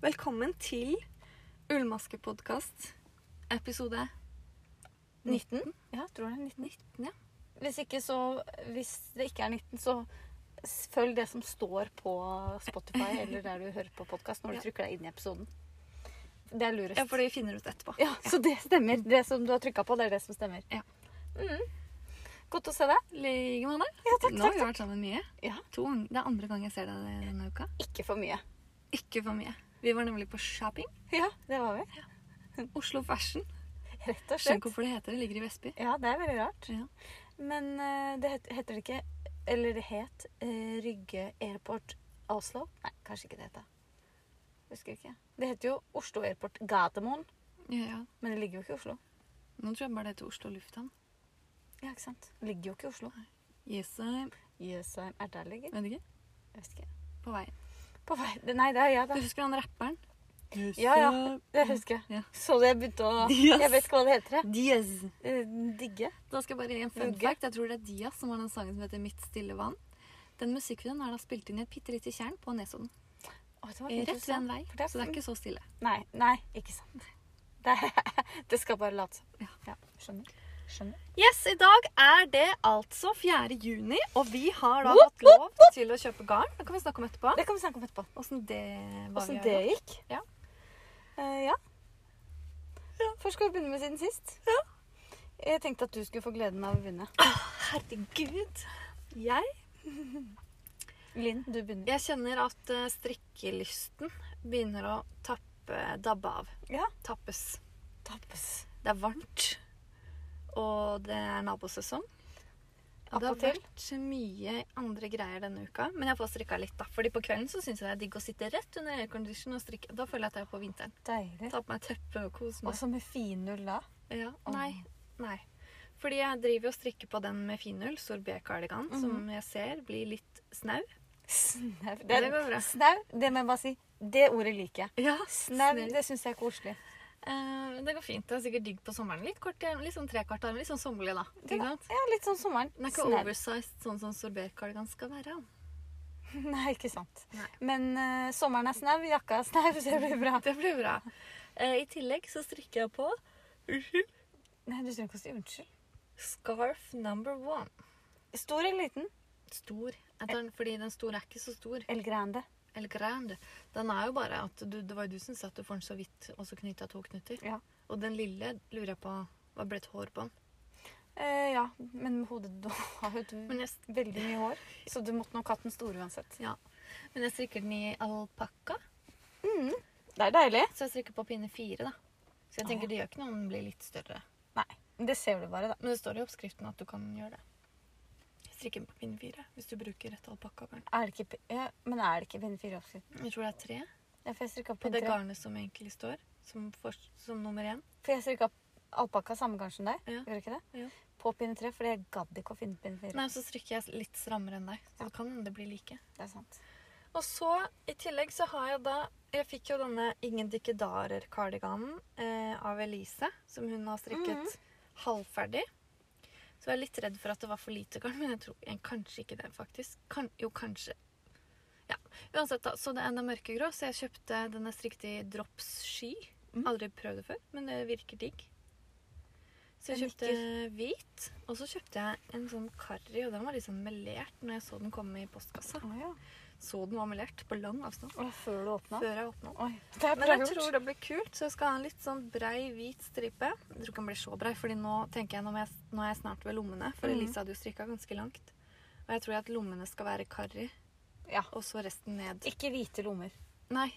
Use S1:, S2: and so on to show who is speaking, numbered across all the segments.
S1: velkommen til Ullmaskepodkast episode
S2: 19? Ja, jeg tror det er 19.
S1: 19. Ja.
S2: Hvis, ikke så, hvis det ikke er 19, så s- følg det som står på Spotify eller der du hører på podkast når du
S1: Ja.
S2: trykker deg inn i episoden. Det er lurest.
S1: ja, for det finner du ut etterpå.
S2: Ja, så det stemmer. Det som du har trykka på, det er det som stemmer.
S1: Ja.
S2: Mhm. Godt å se deg.
S1: Like med deg.
S2: Ja, takk,
S1: Nå har
S2: takk,
S1: vi
S2: takk.
S1: vært sammen mye.
S2: Ja.
S1: To ganger. Det er andre gang jeg ser deg denne uka.
S2: Ikke for mye.
S1: Ikke for mye. Vi var nemlig på shopping.
S2: Ja, det var vi.
S1: Oslo Fashion.
S2: Rett og
S1: Skjønner
S2: slett.
S1: ikke hvorfor det heter det. Ligger i Vestby.
S2: Ja, det er veldig rart.
S1: Ja.
S2: Men eh, det het, heter det ikke Eller det het eh, Rygge Airport Oslo? Nei, kanskje ikke det het det. Husker ikke. Det heter jo Oslo Airport Gardermoen,
S1: Ja, ja.
S2: men det ligger jo ikke i Oslo.
S1: Nå tror jeg bare det heter Oslo Lufthavn.
S2: Ja, ikke sant? Det Ligger jo ikke i Oslo.
S1: Jessheim.
S2: Jøsheim er der det ligger.
S1: Vet ikke.
S2: Jeg vet ikke.
S1: På veien.
S2: På vei Nei, det er jeg,
S1: Du
S2: da.
S1: husker han rapperen?
S2: Ja, ja. Det husker jeg.
S1: Ja.
S2: Så jeg begynte å
S1: Yes.
S2: Jeg vet ikke hva det heter. jeg.
S1: Diaz.
S2: Eh, digge.
S1: Da skal jeg bare gi en fun
S2: Ugge.
S1: fact. Jeg tror det er Diaz som har den sangen som heter 'Mitt stille vann'. Den musikkvideoen er da spilt inn i et bitte lite tjern på Nesodden.
S2: Å, det var
S1: Eh, Rett ved en
S2: interessant,
S1: vei,
S2: for
S1: så det er sånn- ikke så stille.
S2: Nei, nei, ikke sant. Det, det skal bare late som.
S1: Ja.
S2: Ja, skjønner. Skjønner.
S1: Yes, I dag er det altså 4. juni, og vi har da
S2: Woop,
S1: hatt lov til å kjøpe garn. Det kan vi snakke om etterpå.
S2: Det kan vi snakke om etterpå.
S1: Åssen det var
S2: Åssen
S1: vi
S2: det
S1: har gjort.
S2: gikk?
S1: Ja.
S2: Eh, ja. Først skal vi begynne med siden sist. Jeg tenkte at du skulle få gleden av å begynne.
S1: Herregud. Jeg
S2: Linn, du begynner.
S1: Jeg kjenner at eh, strikkelysten begynner å tappe dabbe av.
S2: Ja.
S1: Tappes.
S2: Tappes.
S1: Det er varmt, og det er nabosesong. Og det har
S2: Attpåtil.
S1: vært mye andre greier denne uka, men jeg får strikka litt. da. Fordi på kvelden så syns jeg det er digg å sitte rett under aircondition og strikke. Da føler jeg at jeg er på vinteren.
S2: Deilig.
S1: Ta på meg teppe og kose
S2: Og
S1: meg.
S2: så med finull da.
S1: Ja,
S2: Åh.
S1: nei, nei. Fordi jeg driver og strikker på den med finull, sorbet-kardigan,
S2: Mhm.
S1: som jeg ser blir litt snau.
S2: Snau.
S1: Det går bra.
S2: Snau, det må jeg bare si. Det ordet liker jeg.
S1: Ja,
S2: Snau, det syns jeg er koselig.
S1: Eh, det går fint. Det er sikkert digg på sommeren. Litt kort igjen, litt sånn trekvart arm, litt sånn sommerlig, da. Ikke
S2: Det var-
S1: sant?
S2: ja, litt sånn sommeren.
S1: Den er ikke
S2: Snau.
S1: oversized sånn som sorbetkardigan skal være.
S2: Nei, ikke sant.
S1: Nei.
S2: Men eh, sommeren er snau, jakka er snau, så det blir bra.
S1: Det blir bra. Eh, I tillegg så strikker jeg på Unnskyld.
S2: Nei, du trenger ikke å si unnskyld.
S1: Scarf number one.
S2: Stor eller liten?
S1: Stor. Jeg tar den fordi den store er ikke så stor.
S2: El grande.
S1: Eller grand. Den er jo bare at du, Det var jo du som sa at du får den så vidt, og så knytta to knuter.
S2: Ja.
S1: Og den lille lurer jeg på Hva ble et hår på den?
S2: Eh, ja, men hodet du har jo et
S1: Men jeg,
S2: veldig mye hår, så du måtte nok hatt den store uansett.
S1: ja. Men jeg strikker den i alpakka,
S2: Det er deilig.
S1: så jeg strikker på pinne fire, da. Så jeg
S2: Å, ja.
S1: tenker det gjør ikke noe om den blir litt større.
S2: Nei, det ser du bare, da.
S1: Men det står i oppskriften at du kan gjøre det. Strikke den på pinne fire hvis du bruker rett alpakkagarn.
S2: Er det ikke, p- ja, men er det ikke pinne fire oppskrift?
S1: Jeg tror det er tre.
S2: Ja, for jeg strikka
S1: På
S2: pinne
S1: det
S2: tre.
S1: garnet som egentlig står, som, for, som nummer én.
S2: For jeg strikka alpakka samme garn som deg.
S1: Ja.
S2: Gjør du ikke det?
S1: Ja.
S2: På pinne tre, for jeg gadd ikke å finne pinne fire.
S1: Nei, så strikker jeg litt strammere enn deg, så det kan hende det blir like.
S2: Det er sant.
S1: Og så, i tillegg så har jeg da Jeg fikk jo denne Ingen Dikkedarer-kardiganen eh, av Elise, som hun har strikket halvferdig. Så jeg er litt redd for at det var for lite garn, men jeg tror jeg, kanskje ikke det, faktisk. Kan, jo, kanskje. Ja, uansett da, så det er den er mørkegrå, så jeg kjøpte denne strikket i Drops Sky.
S2: Mhm.
S1: Aldri prøvd det før, men det virker digg. Så jeg
S2: Jeg
S1: kjøpte hvit, og så kjøpte jeg en sånn karri, og den var litt sånn melert når jeg så den komme i postkassa.
S2: Å ja.
S1: Så den var melert på lang avstand.
S2: Og før du åpna?
S1: Før jeg åpna den.
S2: Oi, det er
S1: Men
S2: bra
S1: jeg tror
S2: gjort.
S1: det blir kult, så jeg skal ha en litt sånn brei, hvit stripe. Jeg tror ikke den blir så brei, fordi nå tenker jeg, nå er jeg- nå er jeg snart ved lommene. For
S2: Mhm.
S1: Elise hadde jo strikka ganske langt. Og jeg tror at lommene skal være karri,
S2: Ja.
S1: og så resten ned.
S2: Ikke hvite lommer.
S1: Nei,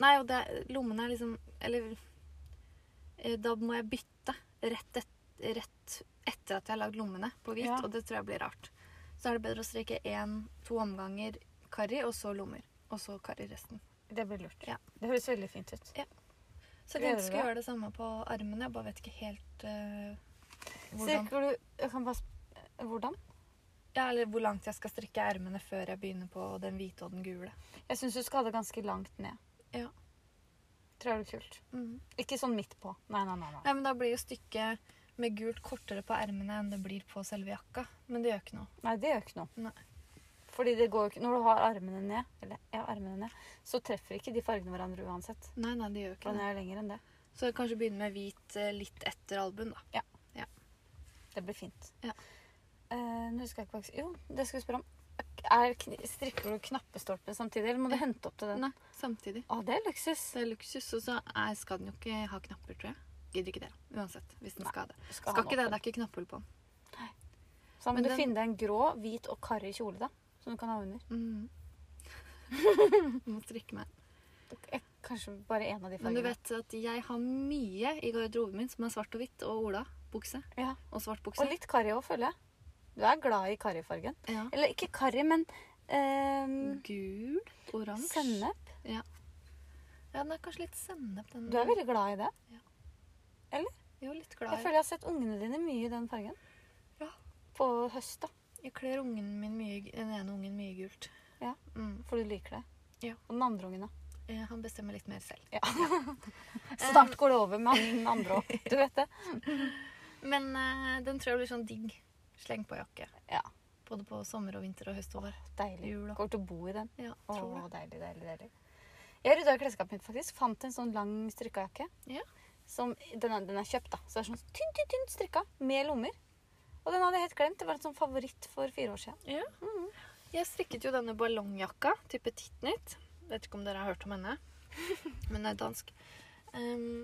S1: Nei og det, lommene er liksom Eller eh, da må jeg bytte rett, et, rett etter at jeg har lagd lommene på hvit,
S2: Ja.
S1: og det tror jeg blir rart. Så er det bedre å streke én, to omganger karri, og så lommer. Og så karri resten.
S2: Det blir lurt.
S1: Ja.
S2: Det høres veldig fint ut.
S1: Så jeg
S2: Gleder
S1: tenkte jeg
S2: du
S1: skulle
S2: deg?
S1: gjøre det samme på armene. Jeg bare vet ikke helt eh, hvordan,
S2: Strikker du jeg kan bare,
S1: eh,
S2: sp- Hvordan?
S1: ja, eller hvor langt jeg skal strikke ermene før jeg begynner på den hvite og den gule.
S2: Jeg syns du skal ha det ganske langt ned.
S1: Ja.
S2: Tror jeg blir kult.
S1: Mm.
S2: Ikke sånn midt på. Nei, nei, nei. nei.
S1: Nei, men Da blir jo stykket med gult kortere på ermene enn det blir på selve jakka. Men det gjør ikke noe.
S2: Nei, det gjør ikke noe.
S1: Nei.
S2: Fordi det går jo ikke Når du har armene ned, eller ja, armene ned, så treffer ikke de fargene hverandre uansett.
S1: Nei, nei, det gjør ikke
S2: Den
S1: det.
S2: er lenger enn det.
S1: Så kanskje begynne med hvit eh, litt etter albuen, da.
S2: Det blir fint.
S1: Ja.
S2: Eh, nå husker jeg ikke hva jeg skulle- Jo, det skulle jeg spørre om. Er, kn- strikker du knappestolpen samtidig, eller må du hente opp til den?
S1: Nei, samtidig.
S2: Å, det er luksus.
S1: Så det er luksus, og så er, skal den jo ikke ha knapper, tror jeg. Gidder ikke det, da. Uansett, hvis den
S2: Nei,
S1: skal ha det.
S2: Skal
S1: Skal
S2: han
S1: ikke det,
S2: åpen.
S1: det er ikke knapphull på den.
S2: Så da må
S1: Men
S2: du
S1: den-
S2: finne deg en grå, hvit og karrig kjole, da. Som du kan ha under.
S1: Mm. Må strikke meg.
S2: Eh, Kanskje bare en av de fargene.
S1: Men du vet at jeg har mye i garderoben min som er svart og hvitt, og Ola bukse.
S2: Ja.
S1: Og svart bukse.
S2: Og litt karrig òg, føler jeg. Du er glad i karrifargen.
S1: ja.
S2: Eller ikke karrig, men ehm,
S1: Gul, oransje.
S2: sennep.
S1: Ja, den er kanskje litt sennep. Den.
S2: Du er veldig glad i det.
S1: Jo, litt
S2: Jeg
S1: glad i
S2: føler jeg har sett ungene dine mye i den fargen.
S1: Ja.
S2: På høst, da.
S1: Jeg kler ungen min mye, den ene ungen mye gult.
S2: Ja.
S1: Mm.
S2: For du liker det.
S1: Ja.
S2: Og den andre ungen, da.
S1: Eh, Han bestemmer litt mer selv. Eh.
S2: Snart går det over med han den andre òg. Du vet det.
S1: Men eh, den tror jeg blir sånn digg. Sleng på jakke.
S2: Ja.
S1: Både på sommer og vinter og høst og vår.
S2: Deilig.
S1: Jul, da.
S2: Kommer til å bo i den.
S1: Ja,
S2: Å,
S1: tror det.
S2: deilig, deilig, deilig. Jeg rydda i klesskapet mitt, faktisk. Fant en sånn lang strikka jakke.
S1: Ja.
S2: Som, den, er, den er kjøpt, da. Så det er sånn tynt, tynt, tynt strikka. Med lommer. Og den hadde jeg helt glemt. Det var en sånn favoritt for fire år siden.
S1: Ja. Mhm. Jeg strikket jo denne ballongjakka, type tittnytt. Vet ikke om dere har hørt om henne, men den er dansk. Em,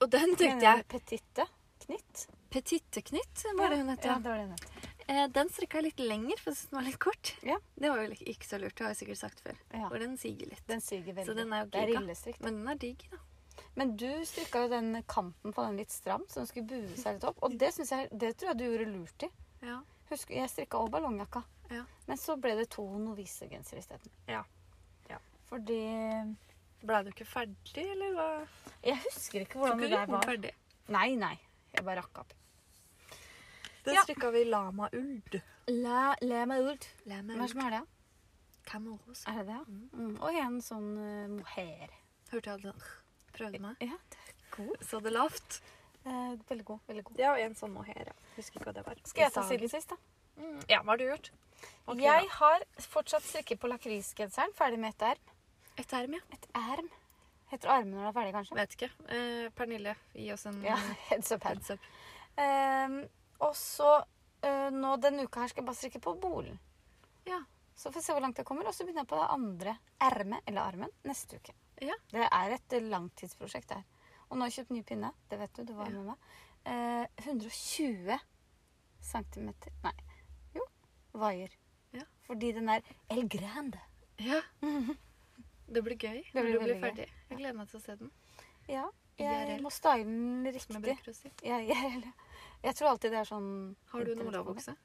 S1: og den tenkte jeg
S2: Petitte. Knitt.
S1: Petitteknytt, var det hun het.
S2: Ja,
S1: ja.
S2: det var det hun het.
S1: Eh, Den strikka jeg litt lenger, for jeg syntes den var litt kort.
S2: Ja.
S1: Det var jo ikke- ikke så lurt, det har jeg sikkert sagt før.
S2: Ja.
S1: For den siger litt.
S2: Den suger veldig.
S1: Så den er jo
S2: det er
S1: giga.
S2: illestrikk.
S1: Men den er digg, da.
S2: Men du strikka jo den kanten på den litt stram, så den skulle bue seg litt opp. Og det, synes jeg, det tror jeg du gjorde lurt i.
S1: Ja.
S2: Husker, jeg strikka også ballongjakka.
S1: Ja.
S2: Men så ble det to novisegensere isteden.
S1: Ja. Ja.
S2: Fordi
S1: Blei du ikke ferdig, eller hva?
S2: Jeg husker ikke
S1: Tror
S2: hvordan
S1: ikke
S2: det
S1: du
S2: der
S1: kom
S2: var.
S1: ferdig.
S2: Nei, nei. Jeg bare rakk opp.
S1: Den
S2: Ja.
S1: strikka vi lamaull.
S2: La, la meg ut. Hva er det
S1: Lamaull.
S2: som er det?
S1: Camel hose.
S2: Er det det, ja?
S1: Mm.
S2: Mm. Og en sånn uh, mohair.
S1: Hørte jeg den? Prøvde meg.
S2: Ja, det er god.
S1: Så det lavt.
S2: Eh, veldig god. veldig god.
S1: Ja, og en sånn mohair, ja. Husker ikke hva det var.
S2: Skal jeg ta siden sist, da?
S1: Mm. Ja, hva har du gjort? Ok,
S2: jeg har fortsatt strikke på lakrisgenseren. Ferdig med ett erm.
S1: da. Et erm, ja.
S2: Et erm? Heter det arme når det er ferdig, kanskje?
S1: Vet ikke. Eh, Pernille, gi oss en
S2: Ja, heads up, head.
S1: heads up.
S2: Mm. Ehm, og så eh, nå denne uka her skal jeg bare strikke på bolen.
S1: Ja.
S2: Så får vi se hvor langt jeg kommer, og så begynner jeg på det andre ermet, eller armen, neste uke.
S1: Ja.
S2: Det er et eh, langtidsprosjekt der. Og nå har jeg kjøpt ny pinne, det vet du, du var
S1: Ja.
S2: med meg. Eh, 120 cm Nei, jo, vaier.
S1: Ja.
S2: Fordi den er El Grande.
S1: Ja. Det blir gøy
S2: blir
S1: når du blir
S2: veldig gøy.
S1: ferdig. Jeg gleder meg til å se den.
S2: Ja, jeg
S1: IRL.
S2: må style
S1: Som
S2: den
S1: jeg
S2: riktig.
S1: bruker å si.
S2: Ja, IRL. Jeg tror alltid det er sånn
S1: Har du en
S2: internettbonde.
S1: olabukse?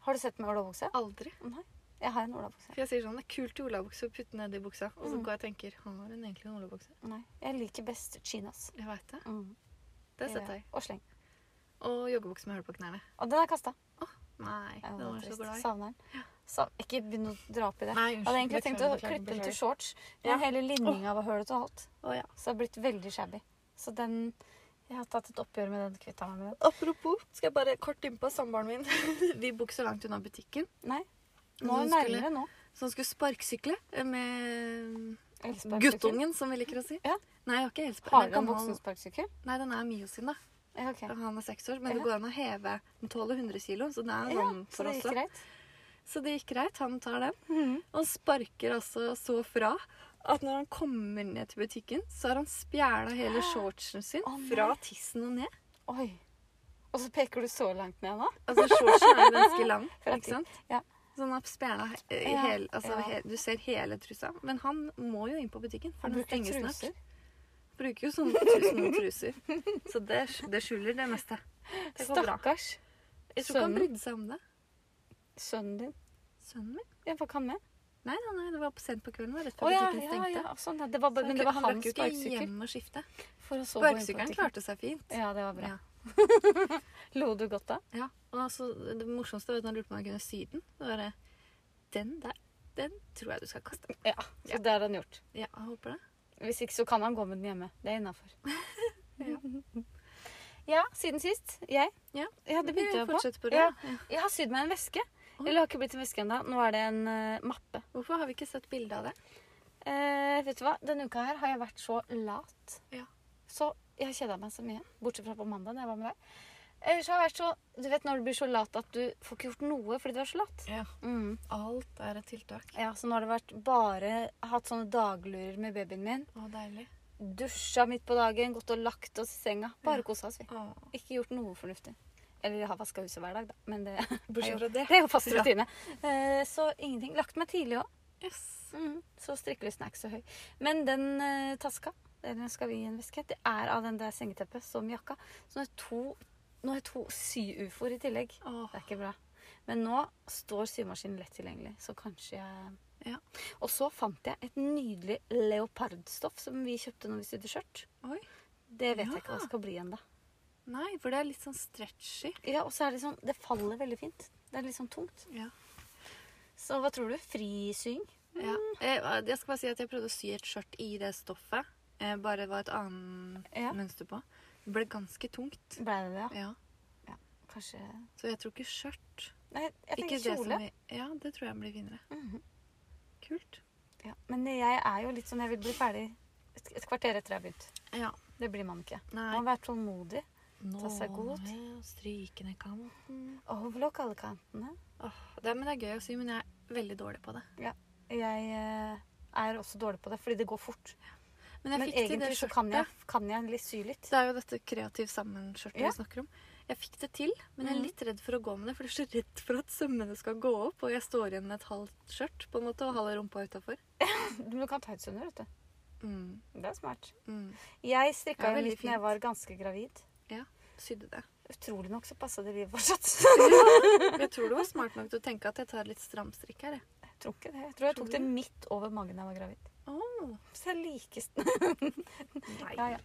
S2: Har du sett meg i olabukse?
S1: Aldri.
S2: Nei, jeg har en olabukse.
S1: For jeg sier sånn, det er kult i olabukse å putte ned i buksa. Og så
S2: Mm.
S1: går jeg og tenker, har hun egentlig en olabukse?
S2: Nei, jeg liker best chinas.
S1: Jeg veit det.
S2: Mm,
S1: Det
S2: gjør
S1: setter jeg.
S2: jeg. Og sleng.
S1: Og joggebukse med hull på knærne.
S2: Og den er kasta.
S1: Nei, den var så glad i.
S2: Savner den. Sa ikke begynn å dra opp i det.
S1: Nei,
S2: Jeg hadde egentlig tenkt å
S1: beklager, beklager,
S2: klippe den til
S1: beklager.
S2: shorts, men
S1: Ja.
S2: hele linninga var hølet og alt.
S1: Å ja.
S2: Så det har blitt veldig shabby. Så den Jeg har tatt et oppgjør med den kvitta meg med den.
S1: Apropos, skal jeg bare kort innpå samboeren min. Vi bor ikke så langt unna butikken.
S2: Nei, nå
S1: Som
S2: er den
S1: skulle-
S2: nærmere nå.
S1: Så han skulle sparksykle med
S2: Elsparkesykkel.
S1: guttungen, som vi liker å si.
S2: Ja.
S1: Nei, jeg har ikke elspark.
S2: Har
S1: Den
S2: du en
S1: gammel-
S2: voksensparkesykkel?
S1: Nei, den er Mio sin, da.
S2: Ja, OK.
S1: Han er seks år. Men det
S2: Ja.
S1: går an å heve. Den tåler 100 kilo, så det er
S2: Ja,
S1: sånn
S2: så
S1: for
S2: det
S1: oss.
S2: gikk
S1: da.
S2: greit?
S1: Så det gikk greit. Han tar den.
S2: Mhm.
S1: Han sparker altså så fra at når han kommer ned til butikken, så har han spjæla hele shortsen sin
S2: Å, nei.
S1: fra tissen og ned.
S2: Oi. Og så peker du så langt ned nå?
S1: Altså, shortsen er jo ganske lang,
S2: Fra
S1: ikke sant?
S2: ja.
S1: Så han har spjæla he
S2: Ja,
S1: hele altså,
S2: ja.
S1: he Du ser hele trusa. Men han må jo inn på butikken, for
S2: Han
S1: den
S2: bruker
S1: stenger snart.
S2: truser.
S1: Bruker jo sånne trus- noen truser. Så det, det skjuler det meste. Det går bra.
S2: Stakkars
S1: Jeg tror ikke han
S2: Sønnen.
S1: brydde seg om det.
S2: sønnen din.
S1: Sønnen min?
S2: Ja, hva kan med?
S1: Nei, nei, nei, det var sent på kvelden. det var Rett
S2: Å
S1: før
S2: ja,
S1: butikken
S2: ja,
S1: stengte.
S2: ja. Sånn, ja. Det var bare,
S1: Så han
S2: men det var
S1: kunne- han rakk
S2: hans
S1: jo ikke
S2: sparkesykkel.
S1: hjem og skifte.
S2: For å så gå inn på
S1: Sparkesykkelen
S2: butikken.
S1: klarte seg fint.
S2: Ja, det var bra.
S1: Ja.
S2: Lo du godt da?
S1: Ja, og altså, Det morsomste var at han lurte på om jeg kunne sy den. Det var det, Den der, den tror jeg du skal kaste.
S2: Ja. Så det har han gjort.
S1: Ja, jeg håper det.
S2: Hvis ikke så kan han gå med den hjemme. Det er innafor.
S1: Ja.
S2: ja, siden sist. Jeg.
S1: Ja.
S2: det begynte
S1: Vi
S2: jeg på.
S1: fortsetter på det.
S2: Ja. Jeg har sydd meg en veske.
S1: Oi.
S2: Eller det har ikke blitt en veske ennå. Nå er det en eh, mappe.
S1: Hvorfor har vi ikke sett bilde av det?
S2: Eh, vet du hva? Denne uka her har jeg vært så lat.
S1: Ja.
S2: Så jeg har kjeda meg så mye. Bortsett fra på mandag, da jeg var med deg. Ellers har jeg vært så Du vet når du blir så lat at du får ikke gjort noe fordi du er så lat?
S1: Ja.
S2: Mm.
S1: Alt er et tiltak.
S2: Ja, så nå har det vært bare hatt sånne daglurer med babyen min.
S1: Å, deilig.
S2: Dusja midt på dagen, gått og lagt oss i senga. Bare
S1: Ja.
S2: kosa oss, vi.
S1: Å.
S2: Ikke gjort noe fornuftig. Eller jeg har vaska huset hver dag, da. Men det,
S1: Bortsett fra det.
S2: det er jo fast
S1: Bra.
S2: rutine. Eh, så ingenting. Lagt meg tidlig òg.
S1: Yes.
S2: Mm. Så strikkelysten er ikke så høy. Men den eh, taska den skal vi gi en veske. Det er av den der sengeteppet som jakka. Så nå har jeg to, nå har jeg to syufoer i tillegg.
S1: Å.
S2: Det er ikke bra. Men nå står symaskinen lett tilgjengelig, så kanskje jeg
S1: Ja.
S2: Og så fant jeg et nydelig leopardstoff som vi kjøpte når vi sydde skjørt.
S1: Oi.
S2: Det vet
S1: Ja.
S2: jeg ikke hva det skal bli ennå.
S1: Nei, for det er litt sånn stretchy.
S2: Ja, og så er det sånn Det faller veldig fint. Det er litt sånn tungt.
S1: Ja.
S2: Så hva tror du? Frisying?
S1: Ja.
S2: Mm.
S1: Eh, Jeg skal bare si at jeg prøvde å sy et skjørt i det stoffet. Eh, Bare var et annet
S2: Ja.
S1: mønster på. Det ble ganske tungt.
S2: Blei det det, ja?
S1: Ja.
S2: Kanskje
S1: Så jeg tror ikke skjørt.
S2: Nei, jeg
S1: Ikke
S2: tenker
S1: det
S2: kjole.
S1: som vi, ja, det tror jeg blir vinnere.
S2: Mhm.
S1: Kult.
S2: Ja, men jeg er jo litt sånn Jeg vil bli ferdig et, et kvarter etter jeg har begynt.
S1: Ja.
S2: Det blir man ikke. Man
S1: Nei.
S2: må være tålmodig.
S1: Nå
S2: Ta seg god tid.
S1: med strykende kanten.
S2: Overlock alle kantene.
S1: Åh, det, men det er gøy å sy, men jeg er veldig dårlig på det.
S2: Jeg eh, er også dårlig på det, fordi det går fort.
S1: Men jeg
S2: Men
S1: fikk til det
S2: egentlig så
S1: skjørtet.
S2: kan jeg, kan jeg litt sy litt.
S1: Det er jo dette kreativ sammen-skjørtet
S2: Ja.
S1: vi snakker om. Jeg fikk det til, men jeg er
S2: Mhm.
S1: litt redd for å gå med det, for jeg er så redd for at sømmene skal gå opp, og jeg står igjen med et halvt skjørt på en måte, og halve rumpa utafor.
S2: Men du kan ta ut under, vet du.
S1: Mm.
S2: Det er smart.
S1: Mm.
S2: Jeg
S1: Det
S2: strikka
S1: er
S2: jo
S1: veldig
S2: litt da jeg
S1: fint.
S2: var ganske gravid.
S1: Sydde det.
S2: Utrolig nok så passa det livet fortsatt.
S1: Men jeg tror du var smart nok til å tenke at jeg tar litt stramstrikk her. jeg.
S2: Jeg tror ikke det. Jeg tror jeg
S1: Tror
S2: tok
S1: du
S2: det
S1: det?
S2: midt over magen da jeg var gravid.
S1: Åh,
S2: Så jeg liker
S1: nei.
S2: Ja, ja.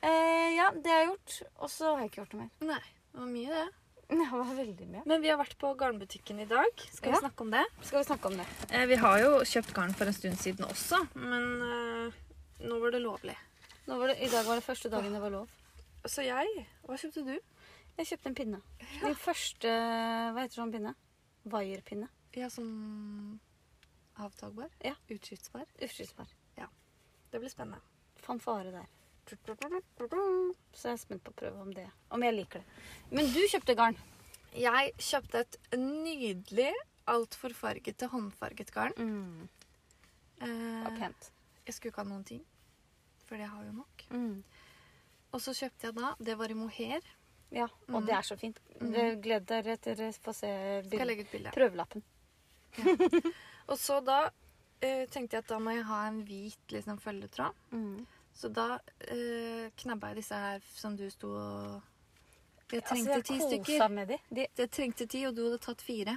S2: Eh, ja, det har jeg gjort. Og så har jeg ikke gjort noe mer.
S1: Nei, det var mye det.
S2: Det var veldig mye.
S1: Men vi har vært på garnbutikken i dag. Skal
S2: Ja.
S1: vi snakke om det?
S2: Skal vi snakke om det?
S1: Eh, vi har jo kjøpt garn for en stund siden også, men eh, nå var det lovlig.
S2: Nå var det, I dag var det første dagen det var lov.
S1: Så jeg Hva kjøpte du?
S2: Jeg kjøpte en pinne. Min første Hva heter sånn pinne? Vaierpinne.
S1: Ja, sånn avtagbar?
S2: Ja.
S1: Utskiftsbar?
S2: Uskyldsbar.
S1: Det blir spennende.
S2: Fanfare der. Så jeg er spent på å prøve om det Om jeg liker det. Men du kjøpte garn.
S1: Jeg kjøpte et nydelig, altfor fargete håndfarget garn.
S2: Mm. Det var
S1: Eh,
S2: pent.
S1: jeg skulle ikke ha noen ting, for jeg har jo nok.
S2: Mm.
S1: Og så kjøpte jeg da Det var i mohair.
S2: Ja, og
S1: Mm.
S2: det er så fint.
S1: Mm.
S2: Det- Gled dere til å få se
S1: Skal jeg
S2: bild-
S1: legge ut bilde?
S2: prøvelappen.
S1: Og så da eh, tenkte jeg at da må jeg ha en hvit liksom, følgetråd.
S2: Mm.
S1: Så da eh, knabba jeg disse her som du sto og Jeg
S2: Altså,
S1: trengte ti
S2: kosa
S1: stykker.
S2: Med de. De,
S1: Jeg trengte ti, og du hadde tatt fire.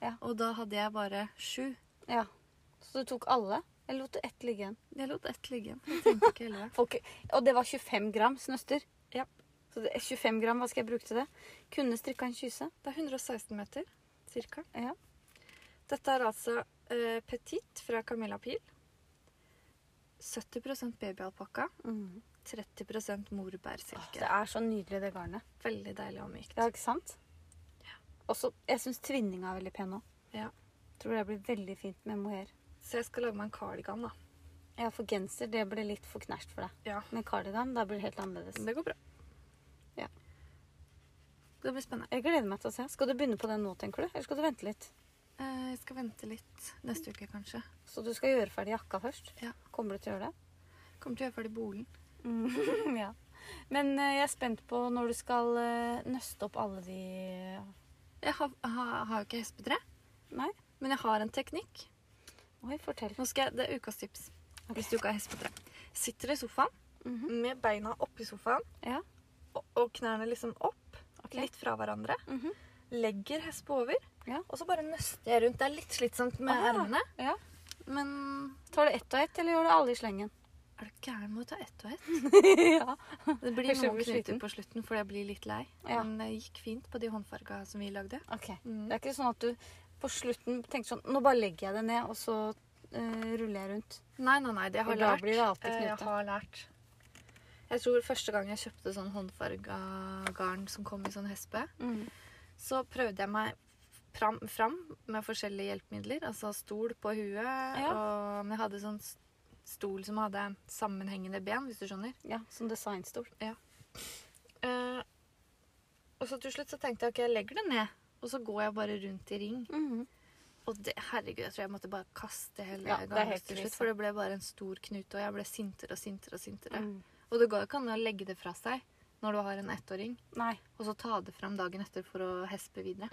S2: Ja.
S1: Og da hadde jeg bare sju.
S2: ja. Så du tok alle? Eller lot du ett ligge igjen?
S1: Jeg lot ett ligge igjen. for Jeg tenkte ikke elleve.
S2: Folk, og det var 25 gram snøster.
S1: Ja.
S2: Så det, 25 gram, hva skal jeg bruke til det? Kunne strikka en kyse.
S1: Det er 116 meter, cirka.
S2: Ja.
S1: Dette er altså eh, Petit fra Camilla Pil. 70 babyalpakka, 30
S2: Åh, Det
S1: morbærsilke.
S2: er så nydelig, det garnet.
S1: Veldig deilig og mykt.
S2: Ja, ikke sant? Også, jeg syns tvinninga er veldig pen òg.
S1: Ja.
S2: Tror det blir veldig fint med mohair.
S1: Så jeg skal lage meg en cardigan, da.
S2: Ja, for genser det blir litt for knæsj for deg.
S1: Ja.
S2: Men kardigan, da blir det helt annerledes.
S1: Men det går bra.
S2: Ja.
S1: Det blir spennende.
S2: Jeg gleder meg til å se. Skal du begynne på den nå, tenker du? Eller skal du vente litt?
S1: Eh, jeg skal vente litt neste uke, kanskje.
S2: Så du skal gjøre ferdig jakka først?
S1: Ja.
S2: Kommer du til å gjøre det?
S1: Kommer til å gjøre ferdig bolen.
S2: Mm, ja. Men eh, jeg er spent på når du skal eh, nøste opp alle de eh,
S1: Jeg har, har, har jo ikke hespetre,
S2: Nei?
S1: men jeg har en teknikk.
S2: Oi, fortell.
S1: Nå skal jeg, Det er ukas tips.
S2: Ok.
S1: Hvis du ikke har hespetre. Sitter i sofaen
S2: Mhm.
S1: med beina oppi sofaen
S2: Ja.
S1: og, og knærne liksom opp,
S2: Ok.
S1: litt fra hverandre.
S2: Mhm.
S1: Legger hespe over,
S2: Ja.
S1: og så bare nøster jeg rundt. Det er litt slitsomt med
S2: Ah.
S1: ermene,
S2: ja.
S1: men
S2: Tar du ett og ett, eller gjør du alle i slengen?
S1: er du gæren med å ta ett og ett?
S2: ja.
S1: Det blir
S2: Kanskje jeg
S1: noen
S2: blir
S1: knuter
S2: sliten.
S1: på slutten, for jeg blir litt lei.
S2: Ja.
S1: Men det gikk fint på de håndfarga som vi lagde.
S2: Ok.
S1: Mm.
S2: Det er ikke sånn at du på slutten tenker sånn Nå bare legger jeg det ned, og så eh, ruller jeg rundt.
S1: Nei, nei, nei, det har
S2: Da
S1: lært.
S2: blir det alltid
S1: Eh, jeg
S2: knute.
S1: har lært. Jeg tror første gang jeg kjøpte Mm. sånn håndfarga garn som kom i sånn hespe, så prøvde jeg meg pram, fram med forskjellige hjelpemidler. Altså stol på huet. Og, men jeg hadde sånn s- stol som hadde sammenhengende ben, hvis du skjønner.
S2: Ja, Som designstol.
S1: Eh, og så til slutt så tenkte jeg ok, jeg legger det ned. Og så går jeg bare rundt i ring. Og det, herregud, jeg tror jeg måtte bare kaste hele
S2: Ja, det er
S1: gangen
S2: helt
S1: til
S2: krise.
S1: slutt. For det ble bare en stor knute, og jeg ble sintere og sintere. Og sintere. Og det går jo ikke an å legge det fra seg når du har en ettåring,
S2: Nei.
S1: og så ta det fram dagen etter for å hespe videre.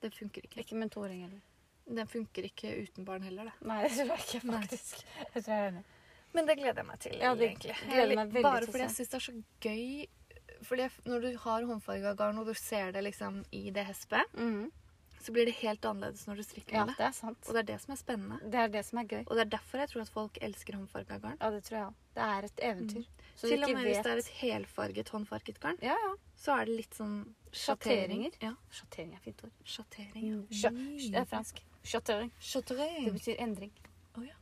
S1: Det funker ikke.
S2: Ikke med en toåring heller.
S1: Den funker ikke uten barn heller, det.
S2: Nei, det tror jeg ikke, faktisk. Jeg tror jeg er enig.
S1: Men det gleder jeg meg til,
S2: Ja, det
S1: egentlig.
S2: gleder jeg meg veldig
S1: Bare
S2: til å
S1: fordi jeg syns det er så gøy. Fordi jeg, Når du har håndfarga garn, og du ser det liksom i det hespet, så blir det helt annerledes når du strikker
S2: Ja,
S1: med det.
S2: det er sant.
S1: Og det er det som er spennende.
S2: Det er det som er gøy.
S1: Og det er derfor jeg tror at folk elsker håndfarga garn.
S2: Ja, det tror jeg òg. Det er et eventyr. Så
S1: Mm. Til
S2: du
S1: og
S2: ikke
S1: med hvis
S2: vet
S1: det er et helfarget håndfarget garn,
S2: Ja, ja.
S1: så er det litt sånn
S2: Sjatteringer.
S1: Ja,
S2: Sjattering er et fint ord.
S1: Sjatteringer.
S2: Sja- Det er fransk. Sjattering. Det
S1: Sjattering.
S2: betyr endring.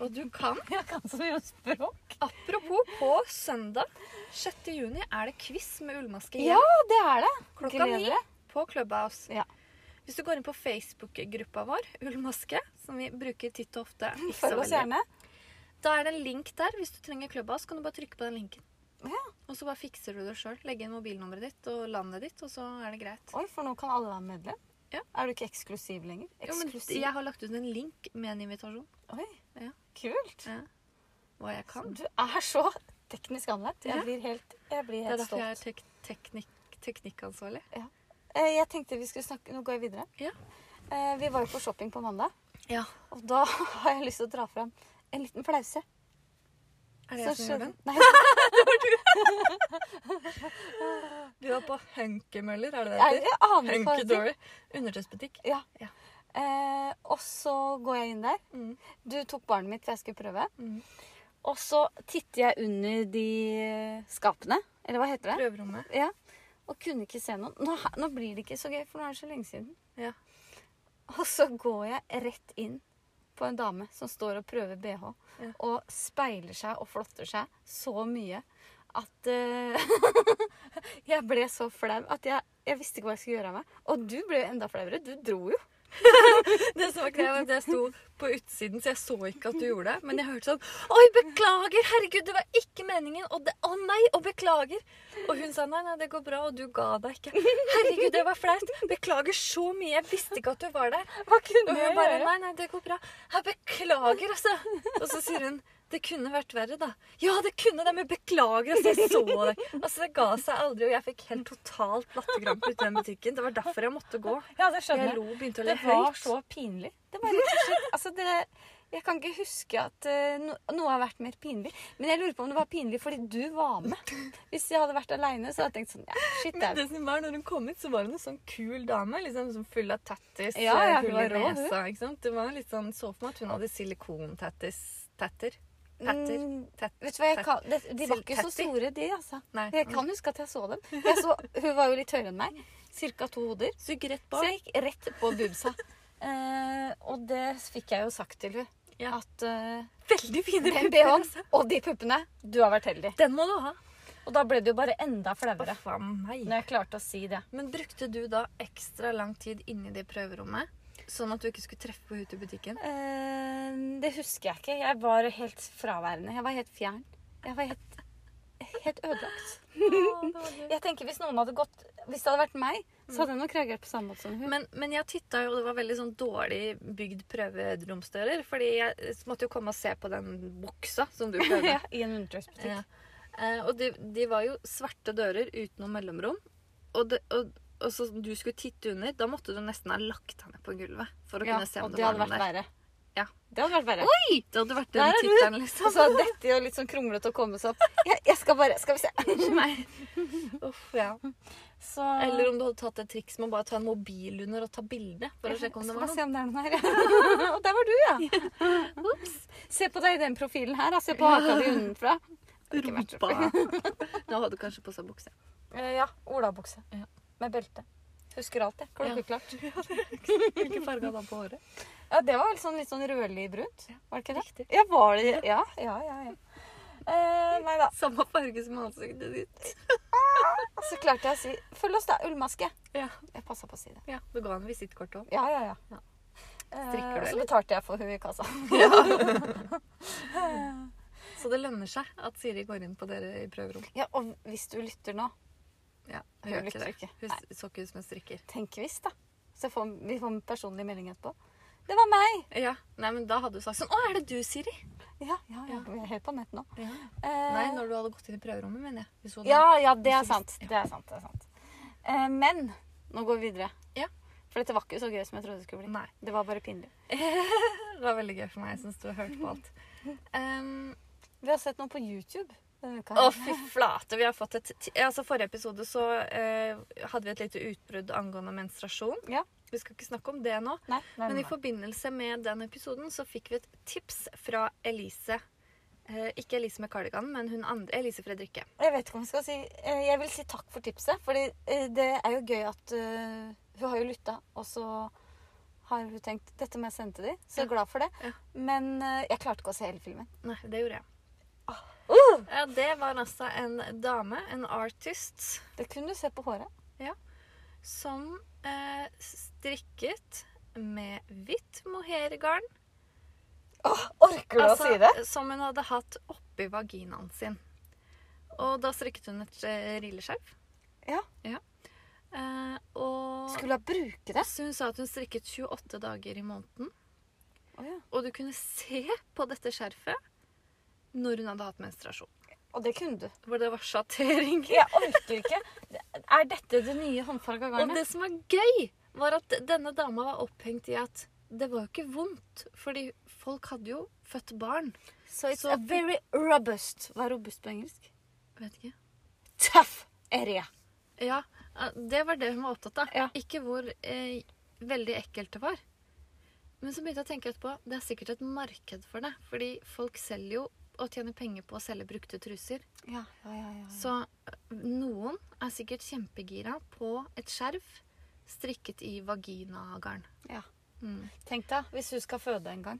S1: Og du kan
S2: Jeg kan så mye språk.
S1: Apropos, på søndag 6. juni er det quiz med ullmaske
S2: Ja,
S1: igjen
S2: det er det.
S1: klokka
S2: gleder
S1: ni
S2: deg.
S1: på Clubhouse.
S2: Ja.
S1: Hvis du går inn på Facebook-gruppa vår, Ullmaske, som vi bruker titt og ofte ikke så
S2: Følg oss
S1: veldig.
S2: gjerne.
S1: Da er det en link der. Hvis du trenger Clubhouse, kan du bare trykke på den linken.
S2: Ja.
S1: Og så bare fikser du det sjøl. Legge inn mobilnummeret ditt og landet ditt, og så er det greit.
S2: Oi, for nå kan alle være medlem.
S1: Ja.
S2: Er du ikke eksklusiv lenger?
S1: Jo, men
S2: Eksklusiv?
S1: jeg har lagt ut en link med en invitasjon.
S2: Oi,
S1: Ja.
S2: kult.
S1: Ja. Hva jeg kan.
S2: Du er så teknisk anlagt. Jeg
S1: Ja.
S2: blir helt, jeg blir
S1: Det er
S2: helt
S1: derfor jeg er
S2: stolt.
S1: tek teknikk teknikkansvarlig.
S2: Eh, Jeg tenkte vi skulle snakke Nå går jeg videre.
S1: Ja.
S2: Eh, Vi var jo på shopping på mandag,
S1: Ja.
S2: og da har jeg lyst til å dra fram en liten flause.
S1: Er det jeg som gjør den?
S2: Nei,
S1: Du var på Hunkemøller, er det det
S2: jeg,
S1: heter?
S2: jeg aner ikke hva det
S1: Hunkedory.
S2: heter.
S1: Undertøysbutikk.
S2: Ja.
S1: Ja.
S2: Eh, og så går jeg inn der.
S1: Mm.
S2: Du tok barnet mitt, for jeg skulle prøve.
S1: Mm.
S2: Og så titter jeg under de skapene, eller hva heter det?
S1: Prøverommet.
S2: Ja. Og kunne ikke se noen. Nå, nå blir det ikke så gøy, for nå er det så lenge siden.
S1: Ja.
S2: Og så går jeg rett inn på en dame som står og prøver BH,
S1: Ja.
S2: og speiler seg og flotter seg så mye at eh, jeg ble så flau at jeg, jeg visste ikke hva jeg skulle gjøre av meg. Og du ble jo enda flauere. Du dro jo.
S1: Det som var greia, var at jeg sto på utsiden, så jeg så ikke at du gjorde det. Men jeg hørte sånn Oi, beklager! Herregud, det var ikke meningen! Og det Å nei! Og beklager! Og hun sa nei, nei, det går bra. Og du ga deg ikke. Herregud, det var flaut! Beklager så mye! Jeg visste ikke at du var der.
S2: Hva kunne
S1: Og hun bare Nei, nei, det går bra. Jeg beklager, altså. Og så sier hun Det kunne vært verre, da. Ja, det kunne det, men beklager, altså. Jeg så det. Altså, det ga seg aldri, og jeg fikk helt totalt latterkrampe ute i den butikken. Det var derfor jeg måtte gå.
S2: Ja, det
S1: Jeg
S2: skjønner jeg.
S1: lo, begynte å le
S2: Det var
S1: høyt.
S2: så pinlig. Det var rett og slett Altså, det Jeg kan ikke huske at eh, no, noe har vært mer pinlig. Men jeg lurer på om det var pinlig fordi du var med. Hvis jeg hadde vært aleine, så hadde jeg tenkt sånn Ja, shit,
S1: Men
S2: det er
S1: det som var, når hun kom ut, så var hun en sånn kul dame. liksom sånn Full av tattis,
S2: Ja, ja,
S1: full i
S2: hun var rå, hun.
S1: nesa. ikke sant? Det var litt sånn, Så for meg at hun hadde silikontattis. Tatter. Tatter.
S2: Mm,
S1: Tatt.
S2: Vet du hva, jeg kan, det, De var ikke så
S1: Tatty.
S2: store, de, altså.
S1: Nei.
S2: Jeg kan huske at jeg så dem. Jeg så, hun var jo litt høyere enn meg. Cirka to hoder.
S1: Sugg rett
S2: Så
S1: bak.
S2: jeg gikk rett på boobsa. Eh, og det fikk jeg jo sagt til hun
S1: Ja.
S2: At eh,
S1: Veldig fine
S2: den
S1: pupper.
S2: BH-en
S1: altså.
S2: og de puppene Du har vært heldig.
S1: Den må du ha.
S2: Og da ble det jo bare enda flauere.
S1: Huff a meg.
S2: Når jeg klarte å si det.
S1: Men brukte du da ekstra lang tid inni det prøverommet? Sånn at du ikke skulle treffe på henne ute i butikken?
S2: Eh, det husker jeg ikke. Jeg var helt fraværende. Jeg var helt fjern. Jeg var helt, helt ødelagt. Jeg tenker Hvis noen hadde gått Hvis det hadde vært meg, så hadde jeg nok reagert på samme måte som hun.
S1: Men, men jeg titta jo, og det var veldig sånn dårlig bygd prøveromsdører. Fordi jeg måtte jo komme og se på den buksa som du prøvde.
S2: ja, I en undertøysbutikk.
S1: Ja. Eh, og de, de var jo svarte dører uten noe mellomrom. Og, det, og, og så du skulle titte under, da måtte du nesten ha lagt henne på gulvet. For å
S2: Ja,
S1: kunne se om det
S2: og det
S1: var
S2: hadde
S1: noen
S2: vært
S1: der.
S2: verre.
S1: Ja.
S2: Det hadde vært verre.
S1: Oi! Det hadde vært
S2: Der
S1: den
S2: er du!
S1: tittelen,
S2: Og
S1: liksom.
S2: så dette jo litt sånn kronglete å komme seg opp. Jeg, jeg skal bare Skal vi se.
S1: Unnskyld meg. Uff, ja.
S2: Så
S1: Eller om du hadde tatt et triks med å bare ta en mobil under og ta bilde. For å sjekke om det
S2: Skal
S1: var
S2: bare
S1: noe.
S2: se om det er noen her. Og der var du, ja.
S1: Ops.
S2: Se på deg i den profilen her. da. Se på haka di unnenfra. Ikke vært så
S1: Rumpa. Nå hadde du kanskje på seg bukse.
S2: Eh, Ja. Olabukse.
S1: Ja.
S2: Med belte. Husker alt, jeg. Klokkeklart. Ja.
S1: Hvilken farge hadde han på håret?
S2: det var vel sånn, litt sånn rødlig brunt.
S1: Ja.
S2: Var det ikke det?
S1: Riktig.
S2: Ja, var det Ja, ja, ja. ja. Eh, nei da.
S1: Samme farge som ansiktet ditt.
S2: Så klarte jeg å si 'følg oss, da, ullmaske'.
S1: Ja.
S2: Jeg passa på å si det.
S1: ja. Det ga en visittkort òg.
S2: Ja, ja,
S1: Ja.
S2: ja.
S1: Strikker du,
S2: Eh, Så
S1: eller?
S2: betalte jeg for hun i kassa.
S1: Så det lønner seg at Siri går inn på dere i prøverom.
S2: Ja, og hvis du lytter nå
S1: Ja,
S2: Hun
S1: gjør
S2: lytter
S1: det.
S2: ikke.
S1: Hun
S2: Nei.
S1: så ikke ut som en strikker.
S2: Tenk hvis, da. Så får vi får en personlig melding etterpå. Det var meg!
S1: Ja, Nei, men da hadde du sagt sånn Å, er det du, Siri?
S2: Ja, ja, ja.
S1: Ja.
S2: Vi er helt på nett nå.
S1: Ja.
S2: Eh,
S1: Nei, når du hadde gått inn i prøverommet, mener jeg. Hvis hun hadde-
S2: Ja, ja, det
S1: Hvis
S2: er
S1: du
S2: sant.
S1: visste-
S2: Det er sant. det er sant. Eh, Men nå går vi videre.
S1: Ja.
S2: For dette var ikke så gøy som jeg trodde det skulle bli.
S1: Nei.
S2: Det var bare pinlig.
S1: Det var veldig gøy for meg. Jeg syns du har hørt på alt. Um,
S2: Vi har sett noe på YouTube Eh, denne uka.
S1: Å,
S2: her.
S1: fy flate. Vi har fått et ti- Altså, forrige episode så eh, hadde vi et lite utbrudd angående menstruasjon.
S2: Ja.
S1: Vi skal ikke snakke om det nå.
S2: Nei, nei,
S1: Men
S2: nei.
S1: i forbindelse med den episoden så fikk vi et tips fra Elise. Eh, ikke Elise med kardigan, men hun andre, Elise Fredrikke.
S2: Jeg vet ikke om jeg skal si eh, Jeg vil si takk for tipset. For det er jo gøy at eh, hun har jo lytta, og så har hun tenkt Dette må jeg sende til dem. Så jeg er glad for det.
S1: Ja.
S2: Men eh, jeg klarte ikke å se hele filmen.
S1: Nei, det gjorde jeg.
S2: Uh!
S1: Ja, det var altså en dame, en artist,
S2: Det kunne du se på håret.
S1: som eh, strikket med hvitt mohairgarn.
S2: Orker
S1: Altså, Som hun hadde hatt oppi vaginaen sin. Og da strikket hun et eh, rilleskjerf.
S2: Ja.
S1: Eh, og
S2: Skulle hun bruke det?
S1: så hun sa at hun strikket 28 dager i måneden.
S2: Å ja.
S1: Og du kunne se på dette skjerfet når hun hadde hatt menstruasjon.
S2: Og det kunne du.
S1: Hvor det var sjattering.
S2: Jeg orker ikke. Er dette det nye håndfarga
S1: Og
S2: garnet?
S1: det som var gøy, var at denne dama var opphengt i at det var jo ikke vondt. Fordi folk hadde jo født barn.
S2: Så it's
S1: så-
S2: a very robust. Hva er robust på engelsk?
S1: Vet ikke.
S2: Tough area.
S1: Ja, eh, det var det hun var opptatt av.
S2: Ja.
S1: Ikke hvor eh, veldig ekkelt det var. Men så begynte jeg å tenke etterpå. Det er sikkert et marked for det. Fordi folk selger jo og tjener penger på å selge brukte truser.
S2: Ja, ja, ja, ja.
S1: Så eh, noen er sikkert kjempegira på et skjerf strikket i vaginagarn.
S2: ja.
S1: Mm.
S2: Tenk deg hvis hun skal føde en gang.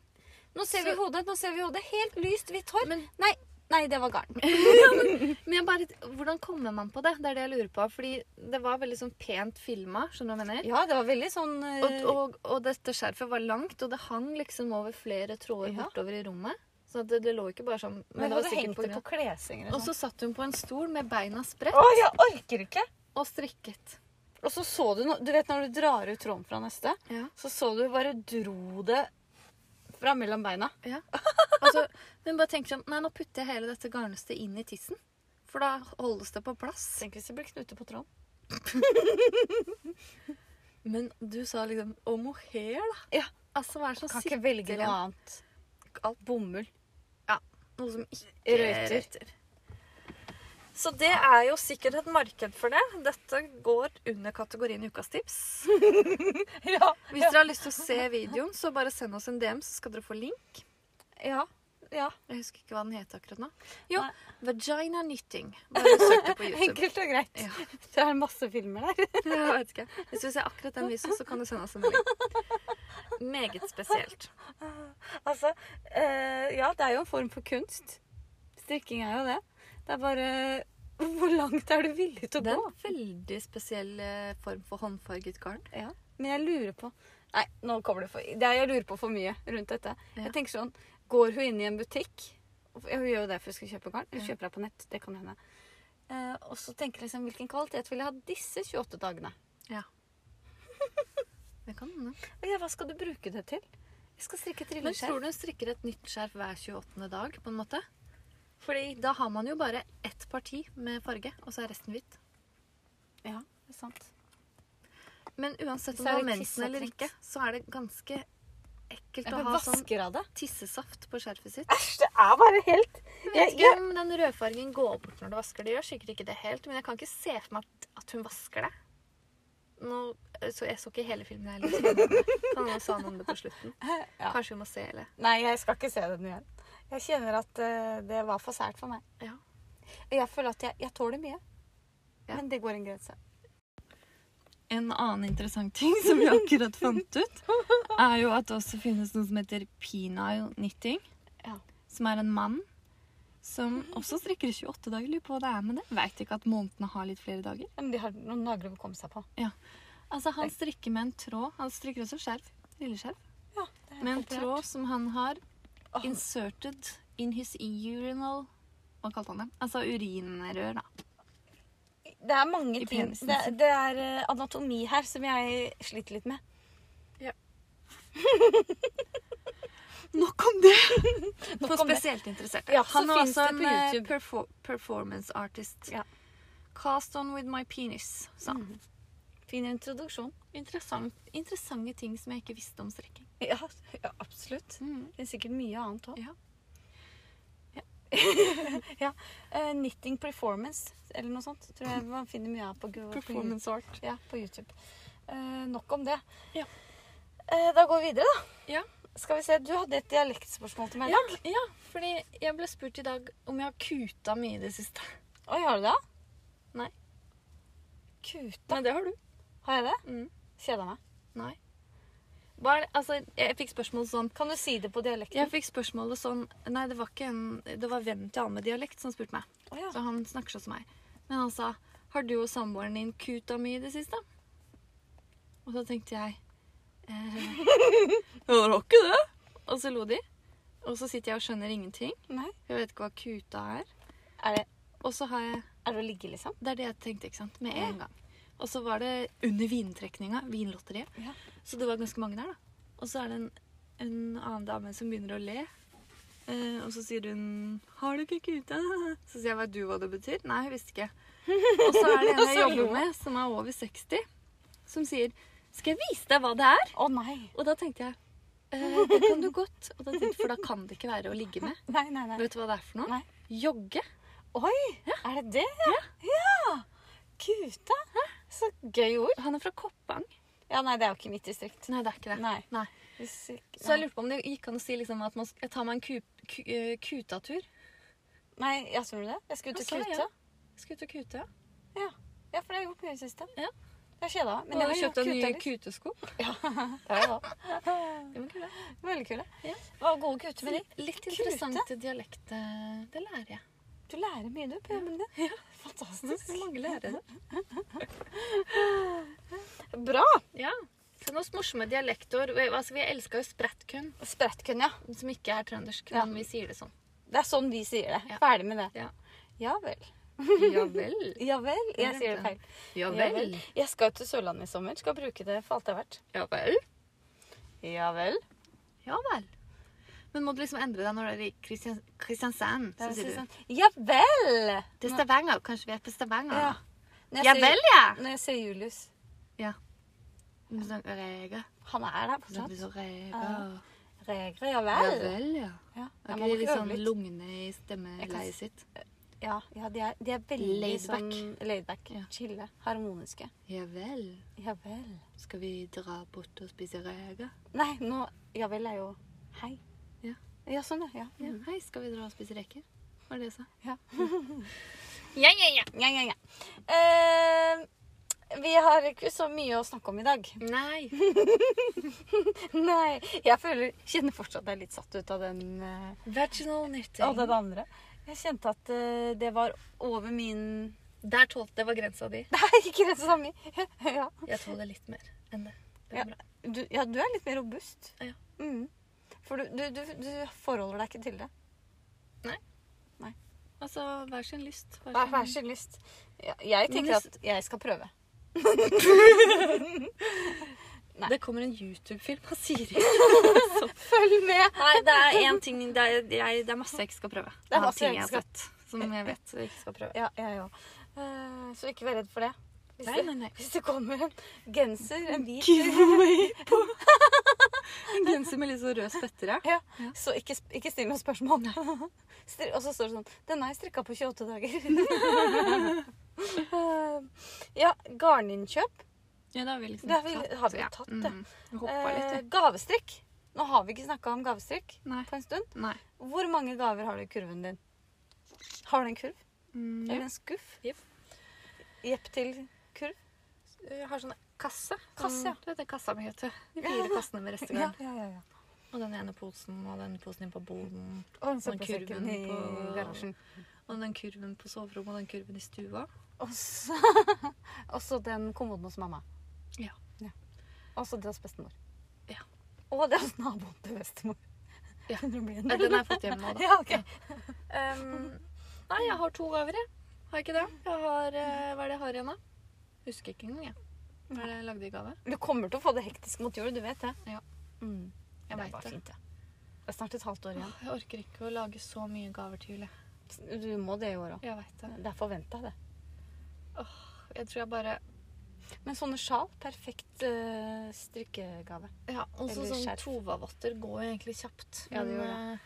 S2: Nå ser
S1: Så-
S2: vi hodet, nå ser vi hodet. Helt lyst hvitt hår.
S1: Men-
S2: Nei, nei, det var garn.
S1: Men jeg bare, hvordan kommer man på det? Det er det jeg lurer på. Fordi det var veldig sånn pent filma. Skjønner du hva jeg mener?
S2: Ja, det var veldig sånn eh,
S1: Og, og, og dette skjerfet var langt, og det hang liksom over flere tråder
S2: Ja.
S1: bortover i rommet. Så det, det lå ikke bare sånn. Men, det
S2: Men
S1: var
S2: hadde
S1: sikkert
S2: hengt
S1: på
S2: det på
S1: grunn.
S2: kleshenger
S1: Og
S2: og sånn.
S1: så satt hun på en stol med beina spredt
S2: Å, jeg orker ikke!
S1: og strikket.
S2: Og så så du noe Du vet når du drar ut tråden fra neste,
S1: Ja.
S2: så så du bare dro det fra mellom beina.
S1: Altså, hun bare tenkte sånn Nei, nå putter jeg hele dette garnnøstet inn i tissen. For da holdes det på plass.
S2: Tenk hvis det blir knute på tråden.
S1: Men du sa liksom Og mohair, da.
S2: Ja.
S1: Altså, hva er det som
S2: Kan ikke
S1: sitter
S2: velge
S1: igjen?
S2: noe annet. Alt bomull.
S1: Noe som ikke
S2: Røyter.
S1: røyter. Så det er jo sikkert et marked for det. Dette går under kategorien ukas tips.
S2: Ja.
S1: Hvis dere har lyst til å se videoen, så bare send oss en DM, så skal dere få link.
S2: ja. ja.
S1: Jeg husker ikke hva den het akkurat nå. Jo,
S2: Nei.
S1: Vagina Knitting. Bare søk det på YouTube.
S2: Enkelt og greit.
S1: Ja.
S2: Det er masse filmer der.
S1: Jeg vet ikke. Hvis du ser akkurat den videoen, så kan du sende oss en melding. Meget spesielt.
S2: Altså, eh, ja, det er jo en form for kunst. Strikking er jo det. Det er bare eh, Hvor langt er du villig til å
S1: Det er
S2: gå?
S1: en veldig spesiell eh, form for håndfarget garn.
S2: Ja. Men jeg lurer på Nei, nå kommer det for det er, Jeg lurer på for mye rundt dette.
S1: Ja.
S2: Jeg tenker sånn Går hun inn i en butikk Ja, Hun gjør jo det for å skulle kjøpe garn. Hun
S1: Ja.
S2: kjøper det på nett. Det kan hende. Eh, og så tenker jeg liksom Hvilken kvalitet vil jeg ha disse 28 dagene?
S1: Det kan hende.
S2: Og ja, hva skal du bruke det til? Jeg skal strikke et
S1: Men tror
S2: trilleskjerf.
S1: du hun strikker et nytt skjerf hver 28. dag, på en måte? Fordi da har man jo bare ett parti med farge, og så er resten hvitt.
S2: Ja, det er sant.
S1: Men uansett om
S2: Så
S1: du
S2: er
S1: har
S2: det
S1: mensen eller
S2: tissetent.
S1: ikke, så er det ganske ekkelt
S2: Jeg
S1: å
S2: bare
S1: ha sånn
S2: vasker av det.
S1: tissesaft på skjerfet sitt.
S2: Æsj, det er bare helt
S1: Jeg
S2: Jeg-
S1: vet ikke om den rødfargen går bort når du vasker. Det gjør sikkert ikke det helt, men jeg kan ikke se for meg at, at hun vasker det. Nå, så jeg så ikke hele filmen heller. så Kan hende- kan hende hun sa noe om det på slutten.
S2: Ja.
S1: Kanskje vi må se hele.
S2: Nei, jeg skal ikke se den igjen. Jeg kjenner at eh, det var for sært for meg.
S1: Ja.
S2: Jeg føler at jeg, jeg tåler mye.
S1: Ja.
S2: Men det går en grense.
S1: En annen interessant ting som vi akkurat fant ut, er jo at det også finnes noe som heter penile knitting.
S2: Ja.
S1: Som er en mann som også strikker i 28 dager. Lurer på hva det er med det. Veit ikke at månedene har litt flere dager.
S2: Men de har noen dager å komme seg på.
S1: Altså, han strikker med en tråd. Han strikker også skjerf. Lilleskjerf.
S2: Ja,
S1: Med en tråd som han har
S2: Åh.
S1: inserted in his urinal Hva kalte han det? Altså urinrør, da.
S2: Det er mange
S1: I
S2: ting.
S1: penisen
S2: Det, det er eh, anatomi her som jeg sliter litt med.
S1: Nok om det!
S2: Nok
S1: For
S2: om det.
S1: spesielt interesserte.
S2: Ja,
S1: han
S2: så
S1: er
S2: finnes
S1: også
S2: det
S1: en
S2: på
S1: eh,
S2: YouTube.
S1: perfo performance artist.
S2: Ja.
S1: Cast on with my penis, sa han.
S2: Fin introduksjon.
S1: Interessant, interessante ting som jeg ikke visste om strikking.
S2: Ja, ja absolutt.
S1: Mm.
S2: Det er sikkert mye annet òg.
S1: Ja.
S2: Ja. ja. eh, knitting performance, eller noe sånt. Tror jeg man finner mye av på, Google-
S1: Performance art.
S2: på, ja, på YouTube. Eh, nok om det.
S1: Ja.
S2: Eh, da går vi videre, da.
S1: Ja.
S2: Skal vi se, Du hadde et dialektspørsmål til meg.
S1: Ja, ja, fordi jeg ble spurt i dag om jeg har kuta mye i det siste.
S2: Oi, har du det?
S1: Nei.
S2: Kuta.
S1: Men det har du.
S2: Har jeg det?
S1: Mm.
S2: Kjeda meg.
S1: Nei. Hva er det? Altså, jeg fikk spørsmål sånn
S2: Kan du si det på dialekten?
S1: Jeg fikk spørsmålet sånn Nei, det var ikke en Det var vennen til han med dialekt som spurte meg.
S2: Å, ja.
S1: Så han snakker sånn som meg. Men han sa Har du og samboeren din kuta mi i det siste? Og så tenkte jeg eh, «Ja, Dere har ikke det? Og så lo de. Og så sitter jeg og skjønner ingenting.
S2: Nei.
S1: Jeg vet ikke hva kuta er.
S2: Er det,
S1: Og så har jeg
S2: er det å ligge, liksom?
S1: Det er det jeg tenkte, ikke sant? Med en gang. Og så var det under vintrekninga, vinlotteriet.
S2: Ja.
S1: Så det var ganske mange der, da. Og så er det en, en annen dame som begynner å le. Eh, og så sier hun 'Har du ikke kuta?' Så sier jeg 'Vet du hva det betyr?' Nei, jeg visste ikke. Og så er det en
S2: Og
S1: jeg
S2: så
S1: jobber
S2: lo.
S1: med, som er over 60, som sier 'Skal jeg vise deg hva det er?'
S2: Å nei.
S1: Og da tenkte jeg eh, 'Det kan du godt'. Og da tenkte, jeg, for da kan det ikke være å ligge med.
S2: Nei, nei, nei.
S1: Vet du hva det er for noe?
S2: Nei.
S1: Jogge.
S2: Oi, er det det? Ja. ja. Kuta. Så gøy ord.
S1: Han er fra Koppang.
S2: Ja, nei, det er jo ikke mitt distrikt.
S1: Nei, det er ikke det.
S2: Nei.
S1: Nei.
S2: Hvis ikke,
S1: Så jeg
S2: nei.
S1: lurte på om det gikk an å si liksom at man sk- jeg tar meg en ku, ku, eh, kutatur.
S2: nei, ja, tror du det? Jeg skulle ut
S1: Jeg
S2: og
S1: sa det,
S2: kute.
S1: Skal ut og kute, ja.
S2: Ja. ja, for det har jeg gjort mye i det siste.
S1: Ja.
S2: Jeg kjeda meg. Men
S1: og
S2: jeg har jo
S1: kjøpt en ny
S2: kuta litt.
S1: kutesko.
S2: Det har jeg da.
S1: Det var kul, ja.
S2: Veldig kule.
S1: Ja.
S2: Hva var gode kuter med de.
S1: Litt
S2: Kute?
S1: interessant dialekt. eh, Det lærer jeg.
S2: Du lærer mye du på jobben din. Ja. Fantastisk.
S1: Mange lærer det.
S2: Bra.
S1: Ja. Kan oss morsomme dialektord. Vi- Altså, vi elsker jo sprettkun,
S2: Sprettkun, ja.
S1: som ikke er trøndersk.
S2: Ja.
S1: Men vi sier det sånn.
S2: Det er sånn vi sier det.
S1: Ja.
S2: Ferdig med det.
S1: Ja.
S2: Ja vel.
S1: Ja vel.
S2: Ja vel. Jeg
S1: Jeg
S2: sier det
S1: glemte
S2: feil.
S1: Ja
S2: Ja vel. Jeg skal jo til Sørlandet i sommer. Skal bruke det for alt det er verdt.
S1: Ja vel.
S2: Ja vel.
S1: Ja vel. Men må du liksom endre deg når du er i Kristian- Kristiansand? Så sier du
S2: sånn? Ja vel!
S1: til Stavanger. Kanskje vi er på Stavanger?
S2: Ja. Når
S1: Ah.
S2: jeg
S1: Ja
S2: ser-
S1: vel, ja. Sånn
S2: Når jeg ser Julius
S1: Du snakker reger.
S2: Han er der
S1: Du snakker så
S2: fortsatt.
S1: reger.
S2: Ja. Regre, ja
S1: Ja
S2: vel.
S1: vel, ja. Er
S2: Ja, jeg
S1: ikke
S2: må
S1: de litt
S2: prøve
S1: sånn
S2: litt.
S1: lugne i
S2: Jeg kan
S1: stemmeleiet
S2: s-
S1: sitt?
S2: Ja, ja de, er, de er veldig
S1: Laid back.
S2: sånn laidback.
S1: Ja.
S2: Chille. Harmoniske.
S1: Ja vel.
S2: Ja vel.
S1: Skal vi dra bort og spise reker?
S2: Nei, nå Ja vel er jo Hei.
S1: Ja.
S2: ja sånn, ja. Ja,
S1: Ja, hei, skal vi dra og spise reker? Var det det jeg sa?
S2: ja, ja. ja. ja, ja, ja. Eh, vi har ikke så mye å snakke om i dag.
S1: Nei.
S2: Nei. Jeg føler, kjenner fortsatt jeg er litt satt ut av den eh,
S1: Vaginal
S2: Og den
S1: knitting.
S2: andre. Jeg kjente at eh, det var over min
S1: Der tålte det var grensa di.
S2: Nei, ikke det samme. ja.
S1: Jeg tåler litt mer enn det. Det
S2: Ja.
S1: går bra.
S2: Du, ja, du er litt mer robust.
S1: Ja.
S2: Mm. For du, du, du, du forholder deg ikke til det.
S1: Altså, hver sin lyst.
S2: Vær, vær så lyst. Ja, jeg tenker
S1: hvis-
S2: at jeg skal prøve. Nei.
S1: Det kommer en YouTube-film av Siri.
S2: Følg med!
S1: Nei, det er én ting det er, jeg, det er masse jeg ikke skal prøve.
S2: Det er masse
S1: ting
S2: jeg
S1: jeg
S2: ikke
S1: har sett som jeg vet jeg ikke skal prøve.
S2: Ja, jeg ja, òg. så ikke vær redd for det. Hvis,
S1: Nei, nei, nei.
S2: det. hvis det kommer en genser, en hvit
S1: Giveaway på En genser med litt sånn rød spetter, ja.
S2: ja, Så ikke, sp- ikke still noe spørsmål. Stri- Og så står det sånn Den har jeg strikka på 28 dager. Eh, ja, garninnkjøp.
S1: Ja, det har vi liksom
S2: Det har vi-
S1: tatt.
S2: har vi
S1: ja.
S2: tatt, ja.
S1: Mm. Vi Hoppa litt,
S2: Eh,
S1: ja.
S2: gavestrikk. Nå har vi ikke snakka om gavestrikk
S1: Nei.
S2: på en stund.
S1: Nei.
S2: Hvor mange gaver har du i kurven din? Har du en kurv?
S1: Mm,
S2: Eller en skuff?
S1: Jepp.
S2: Jepp til kurv?
S1: Jeg har sånn kasse.
S2: Kasse, ja.
S1: Du vet det kassa mi heter. De fire kassene med
S2: Ja,
S1: restegarn.
S2: ja, ja, ja.
S1: Og den ene posen, og den posen inn på boden.
S2: Og den
S1: søppelsekken
S2: søppelsekken i
S1: Sånn på-
S2: garasjen.
S1: Og den kurven på soverommet, og den kurven i stua.
S2: Og så og så den kommoden hos mamma.
S1: Ja.
S2: Og så det hos bestemor.
S1: Ja.
S2: Og det hos naboen til bestemor.
S1: Ja.
S2: Den blir
S1: Nei,
S2: en-
S1: den har jeg fått hjem nå, da.
S2: Ja, ok.
S1: Ehm, nei, jeg har to gaver, jeg. Har jeg ikke det? Jeg har, eh, hva er det jeg har igjen, da? Husker ikke engang, jeg. Hva er det jeg lagde i gave?
S2: Du kommer til å få det hektisk mot jul, du vet det.
S1: Ja.
S2: Mm.
S1: Jeg
S2: det
S1: vet
S2: er
S1: det.
S2: bare fint, det. Det er snart et halvt år igjen.
S1: Åh, Jeg orker ikke å lage så mye gaver til jul, jeg.
S2: Du må det i år òg.
S1: Jeg vet det.
S2: Det er forventa, det.
S1: Jeg tror jeg bare
S2: Men sånne sjal, perfekt eh, strikkegave.
S1: Ja, også
S2: Eller
S1: sånn
S2: skjerf.
S1: Tova-votter går jo egentlig kjapt.
S2: Ja, det
S1: men,
S2: gjør
S1: eh,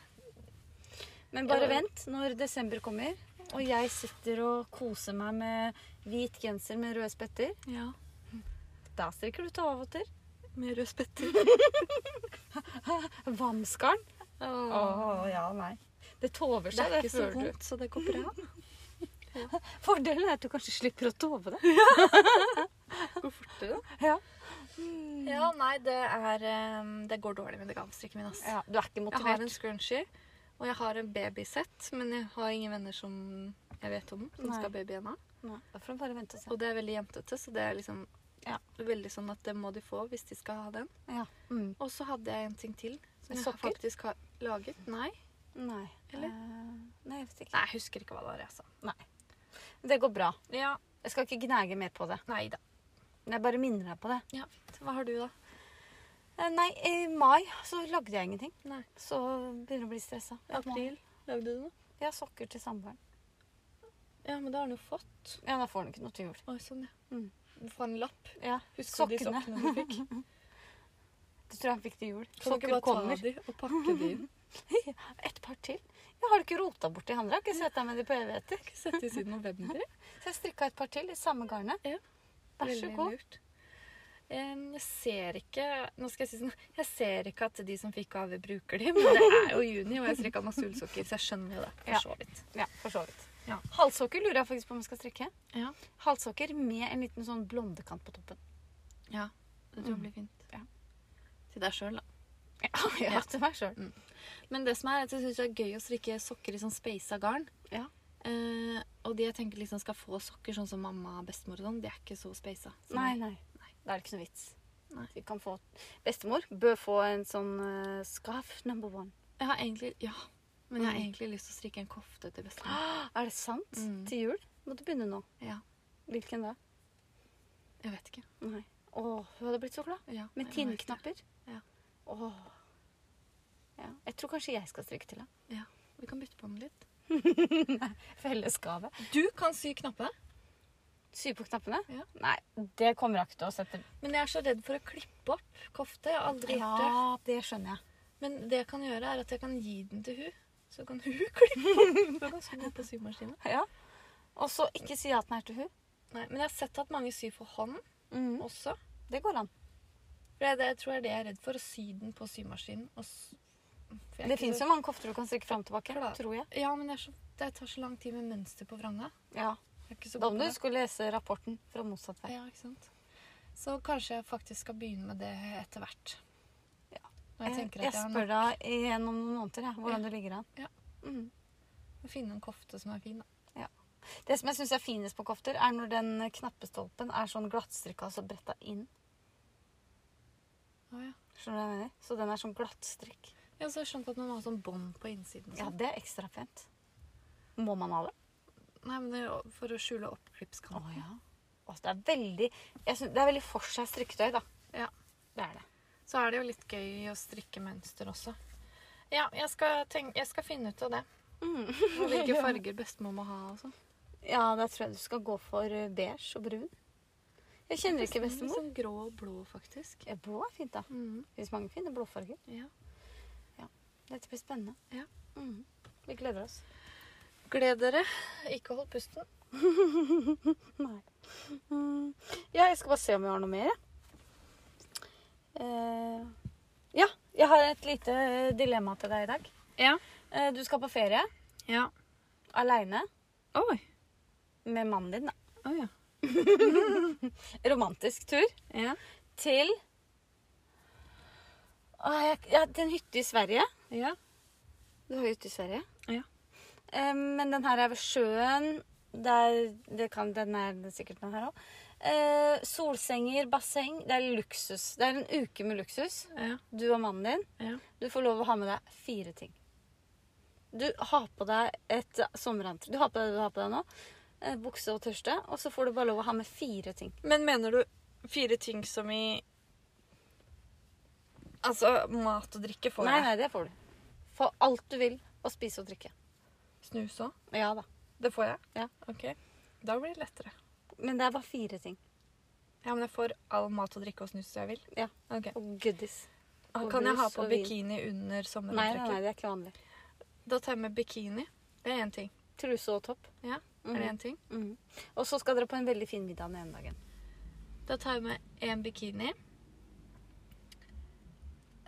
S2: Men bare
S1: Ja.
S2: vent når desember kommer, og jeg sitter og koser meg med hvit genser med røde spetter.
S1: ja.
S2: Da strikker du tåvotter.
S1: Med rød spetter.
S2: Vamskarn. Å
S1: Åh,
S2: ja, nei. Det tover
S1: Det
S2: seg,
S1: er ikke så
S2: føler du.
S1: vondt, så det går bra.
S2: Fordelen er at du kanskje slipper å tove det.
S1: Går fortere.
S2: Ja.
S1: Mm. Ja, nei, det er eh, Det går dårlig med det gavestrikket min, ass.
S2: ja. Du er ikke
S1: Jeg har
S2: motivert.
S1: en scrunchie, og jeg har en babysett, men jeg har ingen venner som jeg vet om, som
S2: Nei.
S1: skal ha baby ennå.
S2: Nei, Da får du bare vente og se.
S1: Og det er veldig jentete, så det er liksom
S2: Ja.
S1: veldig sånn at det må de få hvis de skal ha den.
S2: Ja. Mm.
S1: Og så hadde jeg en ting til som jeg
S2: Sokker?
S1: faktisk har laget. Nei,
S2: Nei.
S1: Eller?
S2: Eh, nei, jeg vet ikke.
S1: nei jeg husker ikke hva det var, altså.
S2: Det går bra.
S1: Ja,
S2: Jeg skal ikke gnage mer på det.
S1: nei da.
S2: Jeg bare minner deg på det.
S1: Ja, fint. Hva har du, da?
S2: Eh, Nei, i mai så lagde jeg ingenting.
S1: Nei.
S2: Så begynner jeg å bli stressa.
S1: April? Lagde du noe?
S2: Jeg har sokker til samboeren.
S1: Ja, men det har han jo fått.
S2: Ja, da får han ikke noe til jul.
S1: Oi, sånn, ja.
S2: Mm.
S1: Du får en lapp.
S2: Ja,
S1: Husker du de
S2: Sokkene.
S1: sokkene du fikk?
S2: Det tror jeg han fikk til jul.
S1: Kan du ikke
S2: Sokker
S1: bare
S2: kommer.
S1: ta de og pakke de inn?
S2: Et par til. Jeg har det ikke rota bort de andre. Jeg har ikke sett deg med de på evigheter.
S1: Ikke sette de siden november?
S2: Så jeg strikka et par til i samme garnet.
S1: Ja.
S2: Vær så
S1: Veldig
S2: god.
S1: Lurt. Em, Jeg ser ikke Nå skal jeg si sånn Jeg ser ikke at de som fikk gaver, bruker de, men det er jo juni, og jeg strikka masse ullsokker, så jeg skjønner jo det.
S2: Ja.
S1: For så vidt.
S2: Ja, for så vidt.
S1: Ja.
S2: Halssokker lurer jeg faktisk på om jeg skal strikke.
S1: Ja.
S2: Halssokker med en liten sånn blondekant på toppen.
S1: ja. Det tror jeg blir fint.
S2: Ja.
S1: Til deg sjøl, da.
S2: Ja, ja. til meg sjøl.
S1: Men det som er, er at jeg syns det er gøy å strikke sokker i sånn speisa garn.
S2: Ja.
S1: Eh, og de jeg tenker liksom skal få sokker, sånn som mamma og bestemor og sånn, de er ikke så speisa. Så
S2: Nei, nei.
S1: Sånn. Nei.
S2: Da er det ikke noe vits.
S1: Nei.
S2: Vi kan få Bestemor bør få en sånn uh, scarf number one.
S1: Jeg har egentlig Ja. Men jeg har
S2: Mm.
S1: egentlig lyst til å strikke en kofte til bestemor.
S2: Er det sant?
S1: Mm.
S2: Til jul? Må du begynne nå.
S1: Ja.
S2: Hvilken da?
S1: Jeg vet ikke.
S2: Nei. Å, hun hadde blitt så glad.
S1: Ja, jeg merker
S2: Med
S1: det.
S2: tinnknapper.
S1: Ja.
S2: Åh. Ja. Jeg tror kanskje jeg skal strikke til henne.
S1: Ja. Vi kan bytte på den litt.
S2: Fellesgave.
S1: Du kan sy knappe,
S2: Sy på knappene?
S1: Ja.
S2: Nei, det kommer jeg ikke til å sette
S1: men jeg er så redd for å klippe opp kofte. Jeg har aldri gjort det.
S2: Ja, det skjønner jeg.
S1: Men det jeg kan gjøre, er at jeg kan gi den til hun. Så kan hun klippe opp. Du er ganske god på symaskinen.
S2: Ja. Og så ikke si at den er til hun.
S1: Nei, men jeg har sett at mange syr for hånd
S2: Mm.
S1: også.
S2: Det går an.
S1: For jeg, det, jeg tror det er det jeg er redd for. Å sy den på symaskinen. Og s- for jeg er
S2: Det
S1: ikke
S2: fins
S1: så-
S2: jo mange kofter du kan strikke fram og tilbake.
S1: Klar.
S2: Tror jeg.
S1: Ja, men det, er så, det tar så lang tid med mønster på vranga.
S2: Ja.
S1: Jeg er ikke så
S2: Da
S1: god
S2: må
S1: på
S2: du
S1: det.
S2: skulle lese rapporten fra motsatt vei.
S1: Ja, ikke sant? Så kanskje jeg faktisk skal begynne med det etter hvert.
S2: Ja. Eh,
S1: Når jeg
S2: Jeg,
S1: tenker at jeg, har
S2: spør
S1: nok
S2: deg igjen om noen måneder jeg, hvordan
S1: Ja.
S2: du ligger an.
S1: Ja.
S2: Mm.
S1: å finne en kofte som er fin. Da.
S2: Det som jeg syns er finest på kofter, er når den knappestolpen er sånn glattstrikka og så bretta inn.
S1: Å, ja.
S2: Skjønner du hva jeg mener? Så den er sånn glattstrikk.
S1: Ja, så har jeg skjønt at man må ha sånn bånd på innsiden. og
S2: Ja,
S1: sånn.
S2: det er ekstra pent. Må man ha det?
S1: Nei, men det er jo for å skjule oppklippskanten.
S2: ja. Altså, det er veldig jeg synes, Det er veldig for seg strikketøy, da.
S1: Ja.
S2: Det er det.
S1: Så er det jo litt gøy å strikke mønster også. Ja, jeg skal, tenk- jeg skal finne ut av det. Og hvilke farger bestemor må ha og sånn.
S2: Mm. Ja, da tror jeg du skal gå for eh, beige og brun. Jeg kjenner ikke bestemor.
S1: Sånn grå og blå, faktisk.
S2: Ja, blå er fint, da.
S1: Mhm,
S2: Det fins mange fine blåfarger.
S1: ja.
S2: Dette blir spennende.
S1: Ja.
S2: Mhm. Vi gleder oss.
S1: Gled dere. Ikke hold pusten.
S2: Nei. Mm. Ja, jeg skal bare se om jeg har noe mer. jeg. Eh, ja, jeg har et lite eh, dilemma til deg i dag.
S1: Ja.
S2: Eh, du skal på ferie
S1: Ja.
S2: aleine
S1: Oi.
S2: med mannen din. da.
S1: Å ja.
S2: Romantisk tur
S1: ja.
S2: til Å, jeg, jeg hadde en hytte i Sverige.
S1: Ja.
S2: Du har jo hytte i Sverige.
S1: Ja.
S2: Eh, men den her er ved sjøen. Der, det kan, den er sikkert den her òg. Eh, solsenger, basseng. Det er luksus. Det er en uke med luksus.
S1: ja.
S2: Du og mannen din.
S1: Ja.
S2: Du får lov å ha med deg fire ting. Du har på deg et sommerantrekk. Du har på deg det du har på deg nå. eh, Bukse og tørste. Og så får du bare lov å ha med fire ting.
S1: Men mener du fire ting som i Altså mat og drikke får
S2: Nei,
S1: jeg.
S2: nei, det får du. Få alt du vil å spise og drikke.
S1: Snus òg?
S2: Ja da.
S1: Det får jeg?
S2: Ja.
S1: Ok. Da blir det lettere.
S2: Men det er bare fire ting.
S1: Ja, men jeg får all mat og drikke og snus jeg vil?
S2: Ja.
S1: Ok.
S2: Og goodies. Og
S1: kan jeg ha
S2: brus
S1: på
S2: og vin.
S1: bikini under
S2: Nei, nei, nei,
S1: sommerantrekket?
S2: det er ikke vanlig.
S1: Da tar jeg med bikini. Det er én ting.
S2: Truse og topp.
S1: Ja,
S2: Mhm.
S1: er det en ting?
S2: Mhm. Og så skal dere på en veldig fin middag den ene dagen.
S1: Da tar jeg med én bikini.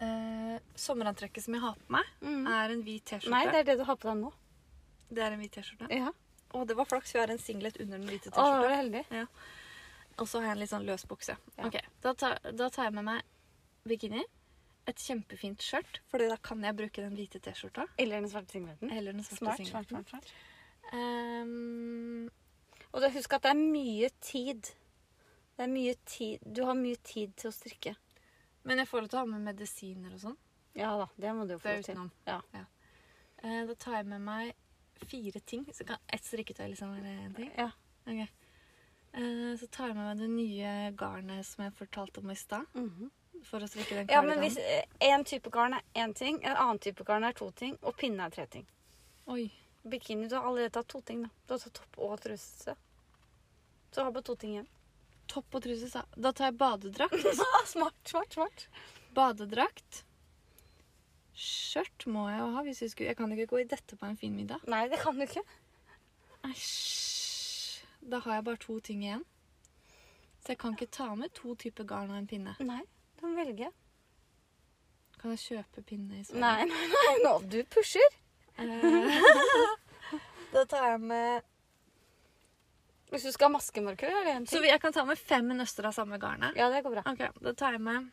S1: Eh, sommerantrekket som jeg har på meg,
S2: Mhm.
S1: er en hvit T-skjorte.
S2: Nei, det er det du har på deg nå.
S1: Det er en hvit T-skjorte.
S2: Ja.
S1: Å, det var flaks. Vi har en singlet under den hvite
S2: Å,
S1: T-skjorta.
S2: var du heldig?
S1: Og så har jeg en litt sånn løs bukse.
S2: Ja.
S1: Ok, da tar, da tar jeg med meg bikini, et kjempefint skjørt, for da kan jeg bruke den hvite T-skjorta.
S2: Eller den svarte singleten.
S1: Eller den svarte
S2: Smart, smart,
S1: singleten.
S2: smart, smart.
S1: Ehm,
S2: Og da husk at det er mye tid. Det er mye tid. Du har mye tid til å strikke.
S1: men jeg får lov til å ha med medisiner og sånn.
S2: Ja da, det må du jo
S1: Det
S2: få
S1: er
S2: til.
S1: utenom.
S2: Ja.
S1: Eh, da tar jeg med meg fire ting. Så kan ett strikketøy liksom være en ting.
S2: Ja.
S1: Ok. Eh, så tar jeg med meg det nye garnet som jeg fortalte om i stad,
S2: Mhm.
S1: for å strikke den
S2: ja, men
S1: kardiganen.
S2: hvis én type garn er én ting, en annen type garn er to ting, og pinne er tre ting.
S1: Oi.
S2: Bikini, du har allerede tatt to ting, da. Du har tatt topp og truse. Så har du bare to ting igjen.
S1: Topp og truse, sa Da tar jeg badedrakt.
S2: Ah, smart, smart, smart.
S1: Badedrakt. Skjørt må jeg jo ha. Hvis jeg, skulle. jeg kan ikke gå i dette på en fin middag.
S2: Nei, det kan du ikke.
S1: Æsj. Da har jeg bare to ting igjen. Så jeg kan ikke ta med to typer garn og en pinne.
S2: Nei, du må velge.
S1: Kan jeg kjøpe pinne i
S2: Nei, nei, nei, nå, du pusher.
S1: Eh, da tar jeg med
S2: Hvis du skal ha maskemarkør, er det en
S1: Så
S2: ting.
S1: vi- jeg kan ta med fem nøster av samme garnet?
S2: Ja, det går bra.
S1: Ok, da tar jeg med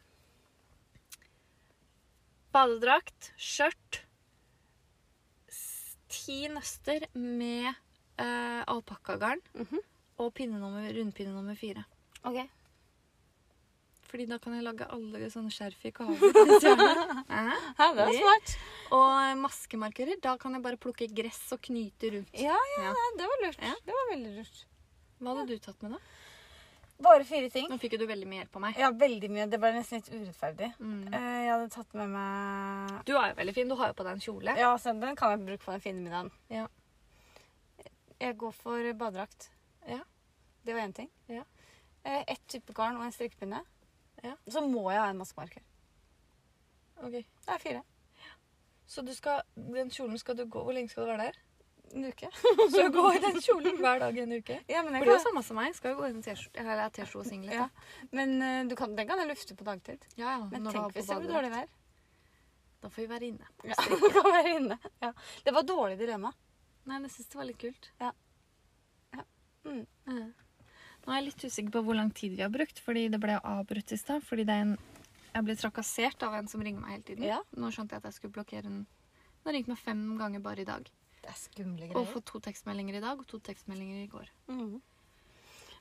S1: badedrakt, skjørt, s- ti nøster med eh, alpakkagarn
S2: Mhm.
S1: og pinnenummer, rundpinne nummer fire.
S2: Ok.
S1: Fordi da kan jeg lage alle sånne skjerf i kava. Hæ?
S2: Ja, det var
S1: Litt.
S2: smart.
S1: og maskemarkører. Da kan jeg bare plukke gress og knyte rundt.
S2: Ja, ja,
S1: Ja.
S2: ja, det var lurt.
S1: Ja.
S2: Det var veldig lurt.
S1: Hva hadde du tatt med, da?
S2: Bare fire ting.
S1: Nå fikk jo du veldig mye hjelp av meg.
S2: Ja, veldig mye. Det ble nesten litt urettferdig.
S1: Mm.
S2: Eh, Jeg hadde tatt med meg
S1: Du er jo veldig fin. Du har jo på deg en kjole.
S2: Ja, så den kan jeg bruke på den fine middagen.
S1: Ja.
S2: Jeg går for badedrakt.
S1: Ja.
S2: Det var én ting.
S1: Ja.
S2: Eh, Ett type garn og en strikkepinne.
S1: Ja.
S2: Så må jeg ha en maskemarker.
S1: Ok.
S2: Det er fire.
S1: Så du skal, den kjolen skal du gå Hvor lenge skal du være der?
S2: En uke.
S1: Så gå i den kjolen hver dag i en uke.
S2: Ja, men,
S1: For
S2: jeg
S1: det er jo
S2: kan,
S1: samme som meg. Skal jo gå i en T-skjorte eller T-skjorte og singlet.
S2: Ja. men eh, du kan, den kan jeg lufte på dagtid.
S1: ja, ja.
S2: Men
S1: når du har på
S2: tenk hvis det blir
S1: badedrakt.
S2: dårlig vær.
S1: Da får vi være inne.
S2: Ja, du kan være inne. Ja. Det var dårlig dilemma.
S1: Nei, men jeg syns det var litt kult.
S2: Ja. Ja. Mm.
S1: Ja. Nå er jeg litt usikker på hvor lang tid vi har brukt, fordi det ble avbrutt i stad. Fordi det er en Jeg ble trakassert av en som ringer meg hele tiden.
S2: Ja.
S1: Nå skjønte jeg at jeg skulle blokkere en Den har ringt meg fem ganger bare i dag.
S2: Det er skumle
S1: Og fått to tekstmeldinger i dag og to tekstmeldinger i går.
S2: Mhm.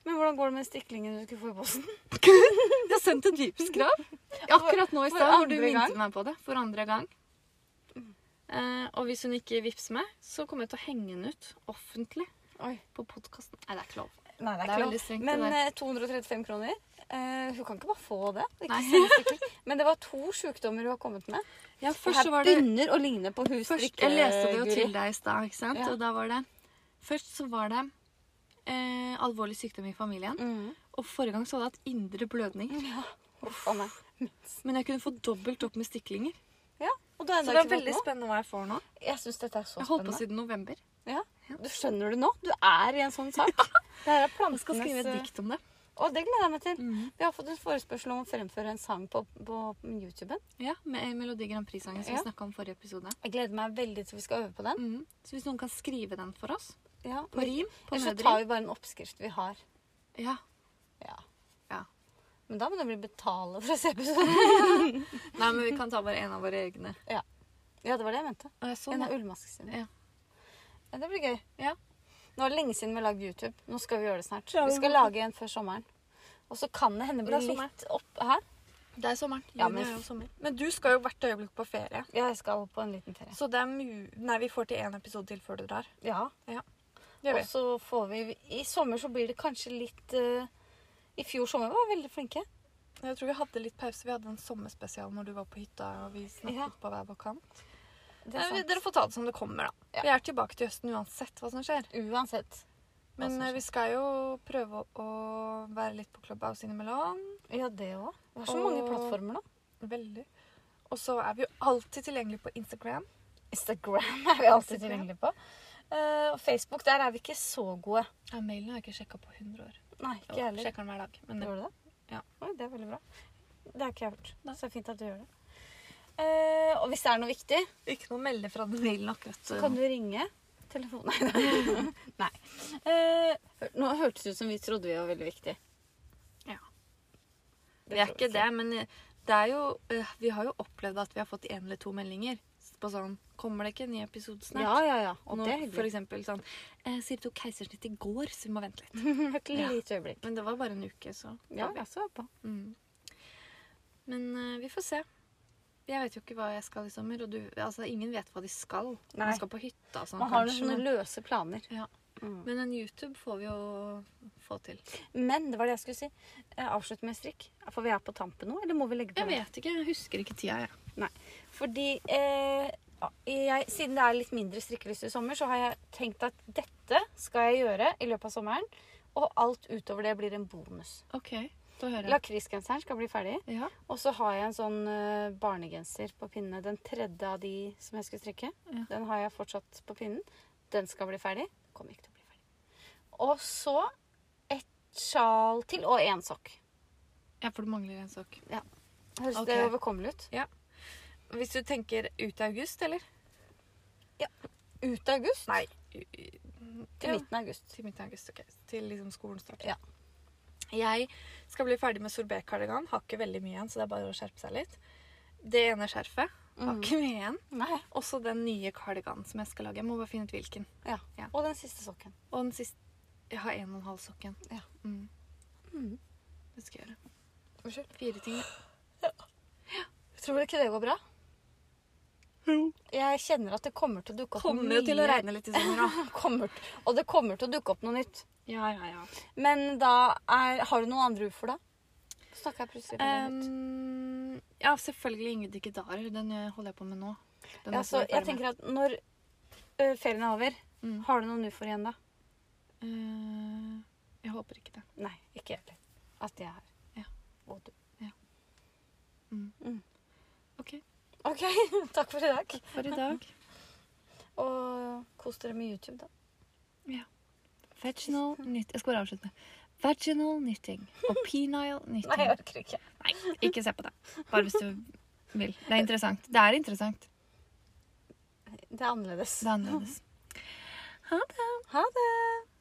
S2: Men hvordan går det med stiklingen du skulle få i posten?
S1: Jeg har sendt en dypskrav. Akkurat nå i
S2: For
S1: stad hvor du
S2: andre gang?
S1: minte meg på det. For andre gang. Eh, og hvis hun ikke vippser meg, så kommer jeg til å henge den ut offentlig
S2: Oi.
S1: på podkasten. Nei, det er ikke lov.
S2: Nei,
S1: Det er veldig strengt,
S2: Men
S1: det der.
S2: eh, 235 kroner. Eh, hun kan ikke bare få det. Det er
S1: Nei.
S2: Ikke så sikkert. Men det var to sykdommer hun har kommet med.
S1: Ja,
S2: Først
S1: først
S2: her
S1: var det
S2: begynner å ligne på hun
S1: først, Jeg leste det jo
S2: strikkeguri.
S1: til deg i stad, ikke sant?
S2: Ja.
S1: Og da var det Først så var det eh, alvorlig sykdom i familien.
S2: Mhm.
S1: Og forrige gang så hadde jeg hatt indre blødning.
S2: Ja. Uff a meg.
S1: Men jeg kunne få dobbelt opp med stiklinger.
S2: Ja. Og du har
S1: Så
S2: ennå
S1: det er
S2: ikke fått
S1: veldig
S2: noe.
S1: spennende hva jeg får nå.
S2: Jeg syns dette er så
S1: Jeg holdt på
S2: spennende.
S1: siden november.
S2: Ja. Du skjønner det nå? Du er i en sånn sak. Det her er
S1: Jeg skal skrive et
S2: plantenes
S1: dikt om det.
S2: Og det gleder jeg meg til.
S1: Mhm.
S2: Vi har fått en forespørsel om å fremføre en sang på, på YouTuben.
S1: Ja, Med Melodi Grand Prix-sangen som
S2: Ja.
S1: vi snakka om forrige episode.
S2: Jeg gleder meg veldig til vi skal øve på den.
S1: Mhm. Så hvis noen kan skrive den for oss,
S2: Ja,
S1: på rim, på
S2: Eller så
S1: nødrim
S2: tar vi bare en oppskrift vi har.
S1: ja.
S2: Ja.
S1: Ja.
S2: Men da må du bli betale for å se episoden.
S1: Nei, men vi kan ta bare en av våre egne.
S2: Ja, det var det jeg mente. Sånn,
S1: Og jeg så
S2: En av
S1: den.
S2: ullmaskescenene.
S1: sånn, Ja.
S2: ja, det blir gøy.
S1: Ja.
S2: Nå er det lenge siden vi har lagd YouTube. Nå skal vi gjøre det snart.
S1: Ja,
S2: Vi
S1: vi
S2: skal
S1: må-
S2: lage en før sommeren. Og så kan det
S1: Det
S2: hende bli
S1: er sommer.
S2: litt opp her.
S1: Det er sommeren.
S2: Ja,
S1: Juni
S2: men-
S1: er jo sommer. Men du skal jo hvert øyeblikk på ferie.
S2: Ja, jeg skal på en liten ferie.
S1: Så det er mu... Nei, vi får til én episode til før du drar.
S2: Ja.
S1: Gjør
S2: Og
S1: vi.
S2: så får vi I sommer så blir det kanskje litt eh, I fjor sommer var vi veldig flinke.
S1: Jeg tror vi hadde litt pause. Vi hadde en sommerspesial når du var på hytta og vi snakket
S2: Ja.
S1: på hver vår kant.
S2: Det er
S1: Nei, vi-
S2: sant.
S1: dere får ta det som det kommer, da.
S2: Ja.
S1: Vi er tilbake til høsten uansett hva som skjer.
S2: Uansett. Hva
S1: Men
S2: som
S1: eh,
S2: skjer.
S1: vi skal jo prøve å å være litt på Clubhouse innimellom.
S2: Ja, det òg. Vi har så
S1: Og-
S2: mange plattformer nå.
S1: Veldig. Og så er vi jo alltid tilgjengelig på Instagram.
S2: Instagram er vi
S1: Instagram.
S2: alltid tilgjengelige på. Eh, og Facebook, der er vi ikke så gode.
S1: Ja, mailen har jeg ikke sjekka på 100 år.
S2: Nei, ikke jeg heller.
S1: Sjekker den hver dag. Men
S2: Gjør du det?
S1: Ja.
S2: Oi, det er veldig bra. Det har ikke jeg hørt.
S1: Nei.
S2: Så fint at du gjør det. Eh, og hvis det er noe viktig,
S1: ikke noe melde fra den mailen akkurat.
S2: så kan du ringe telefonen. Nei. Nei. Eh, hør- nå hørtes det ut som vi trodde vi var veldig viktig.
S1: Ja.
S2: Det
S1: Vi er
S2: tror
S1: ikke det, men eh, det er jo øh, Vi har jo opplevd at vi har fått én eller to meldinger på sånn Kommer det ikke en ny episode snart?
S2: Ja, ja, ja. Og
S1: Nå,
S2: det er
S1: for
S2: hyggelig.
S1: eksempel sånn eh, Sier du tok keisersnitt i går, så vi må vente litt.
S2: Et
S1: Ja.
S2: lite øyeblikk.
S1: Men det var bare en uke, så
S2: Ja, jeg så på.
S1: Mm. Men øh, vi får se. Jeg vet jo ikke hva jeg skal i sommer. Og du, altså, ingen vet hva de skal.
S2: Nei.
S1: Man skal på hytta og sånn,
S2: Man har noen
S1: kanskje.
S2: sånne
S1: Men,
S2: løse planer.
S1: ja.
S2: Mm.
S1: men en YouTube får vi jo få til.
S2: Men det var det jeg skulle si. Eh, Avslutt med strikk. For vi er på tampen nå, eller må vi legge på?
S1: Jeg vet ikke. Jeg husker ikke tida, jeg.
S2: Fordi eh, jeg, siden det er litt mindre strikkelyst i sommer, så har jeg tenkt at dette skal jeg gjøre i løpet av sommeren. Og alt utover det blir en bonus.
S1: OK, da hører jeg.
S2: Lakrisgenseren skal bli ferdig.
S1: Ja,
S2: Og så har jeg en sånn eh, barnegenser på pinne. Den tredje av de som jeg skulle strikke.
S1: Ja.
S2: Den har jeg fortsatt på pinnen. Den skal bli ferdig. Kommer ikke til å bli ferdig. Og så et sjal til og én sokk.
S1: ja for det mangler en sak.
S2: Høres
S1: Ok.
S2: det overkommelig ut?
S1: Hvis du tenker ut i august, eller?
S2: Ut av august?
S1: Nei. Til
S2: Til
S1: midten,
S2: midten av august.
S1: til midten av august, ok. Til liksom skolen starter.
S2: Ja.
S1: Jeg skal bli ferdig med sorbetkardigan. Har ikke veldig mye igjen, så det er bare å skjerpe seg litt. Det ene skjerfet har
S2: Mhm.
S1: ikke mye igjen.
S2: Nei.
S1: Også den nye kardiganen som jeg skal lage. Jeg må bare finne ut hvilken.
S2: Ja.
S1: Ja.
S2: Og den siste sokken.
S1: Og den siste Jeg har en og en halv sokk igjen.
S2: Ja.
S1: Mm.
S2: Mhm.
S1: Det skal jeg gjøre.
S2: Unnskyld?
S1: Fire ting.
S2: Tror du ikke det går bra?
S1: Jo.
S2: Jeg kjenner at det kommer til å dukke opp
S1: Kommer jo til å regne litt i sommer, da.
S2: Kommer til- og det kommer til å dukke opp noe nytt.
S1: ja, ja, ja.
S2: Men da er Har du noen andre ufoer, da? Snakker jeg plutselig veldig høyt.
S1: Um, ja, selvfølgelig Ingrid ikke darer. Den eh, holder jeg på med nå. Den
S2: Ja,
S1: er
S2: så
S1: ferdig med.
S2: jeg tenker at når ø, ferien er over,
S1: Mm.
S2: har du noen ufoer igjen da?
S1: Eh, Jeg håper ikke det.
S2: Nei, ikke jeg heller. At jeg er her.
S1: Ja.
S2: Og du.
S1: Mm.
S2: Mm.
S1: OK.
S2: OK, takk for i dag.
S1: For i dag
S2: Og kos dere med YouTube, da.
S1: Vaginal nytt... Jeg skal bare avslutte med Vaginal knitting og penile
S2: Nei, jeg
S1: knitting.
S2: orker ikke.
S1: Nei, ikke se på det. Bare hvis du vil. Det er interessant. Det er interessant.
S2: Det er annerledes.
S1: Det er annerledes.
S2: Ha det.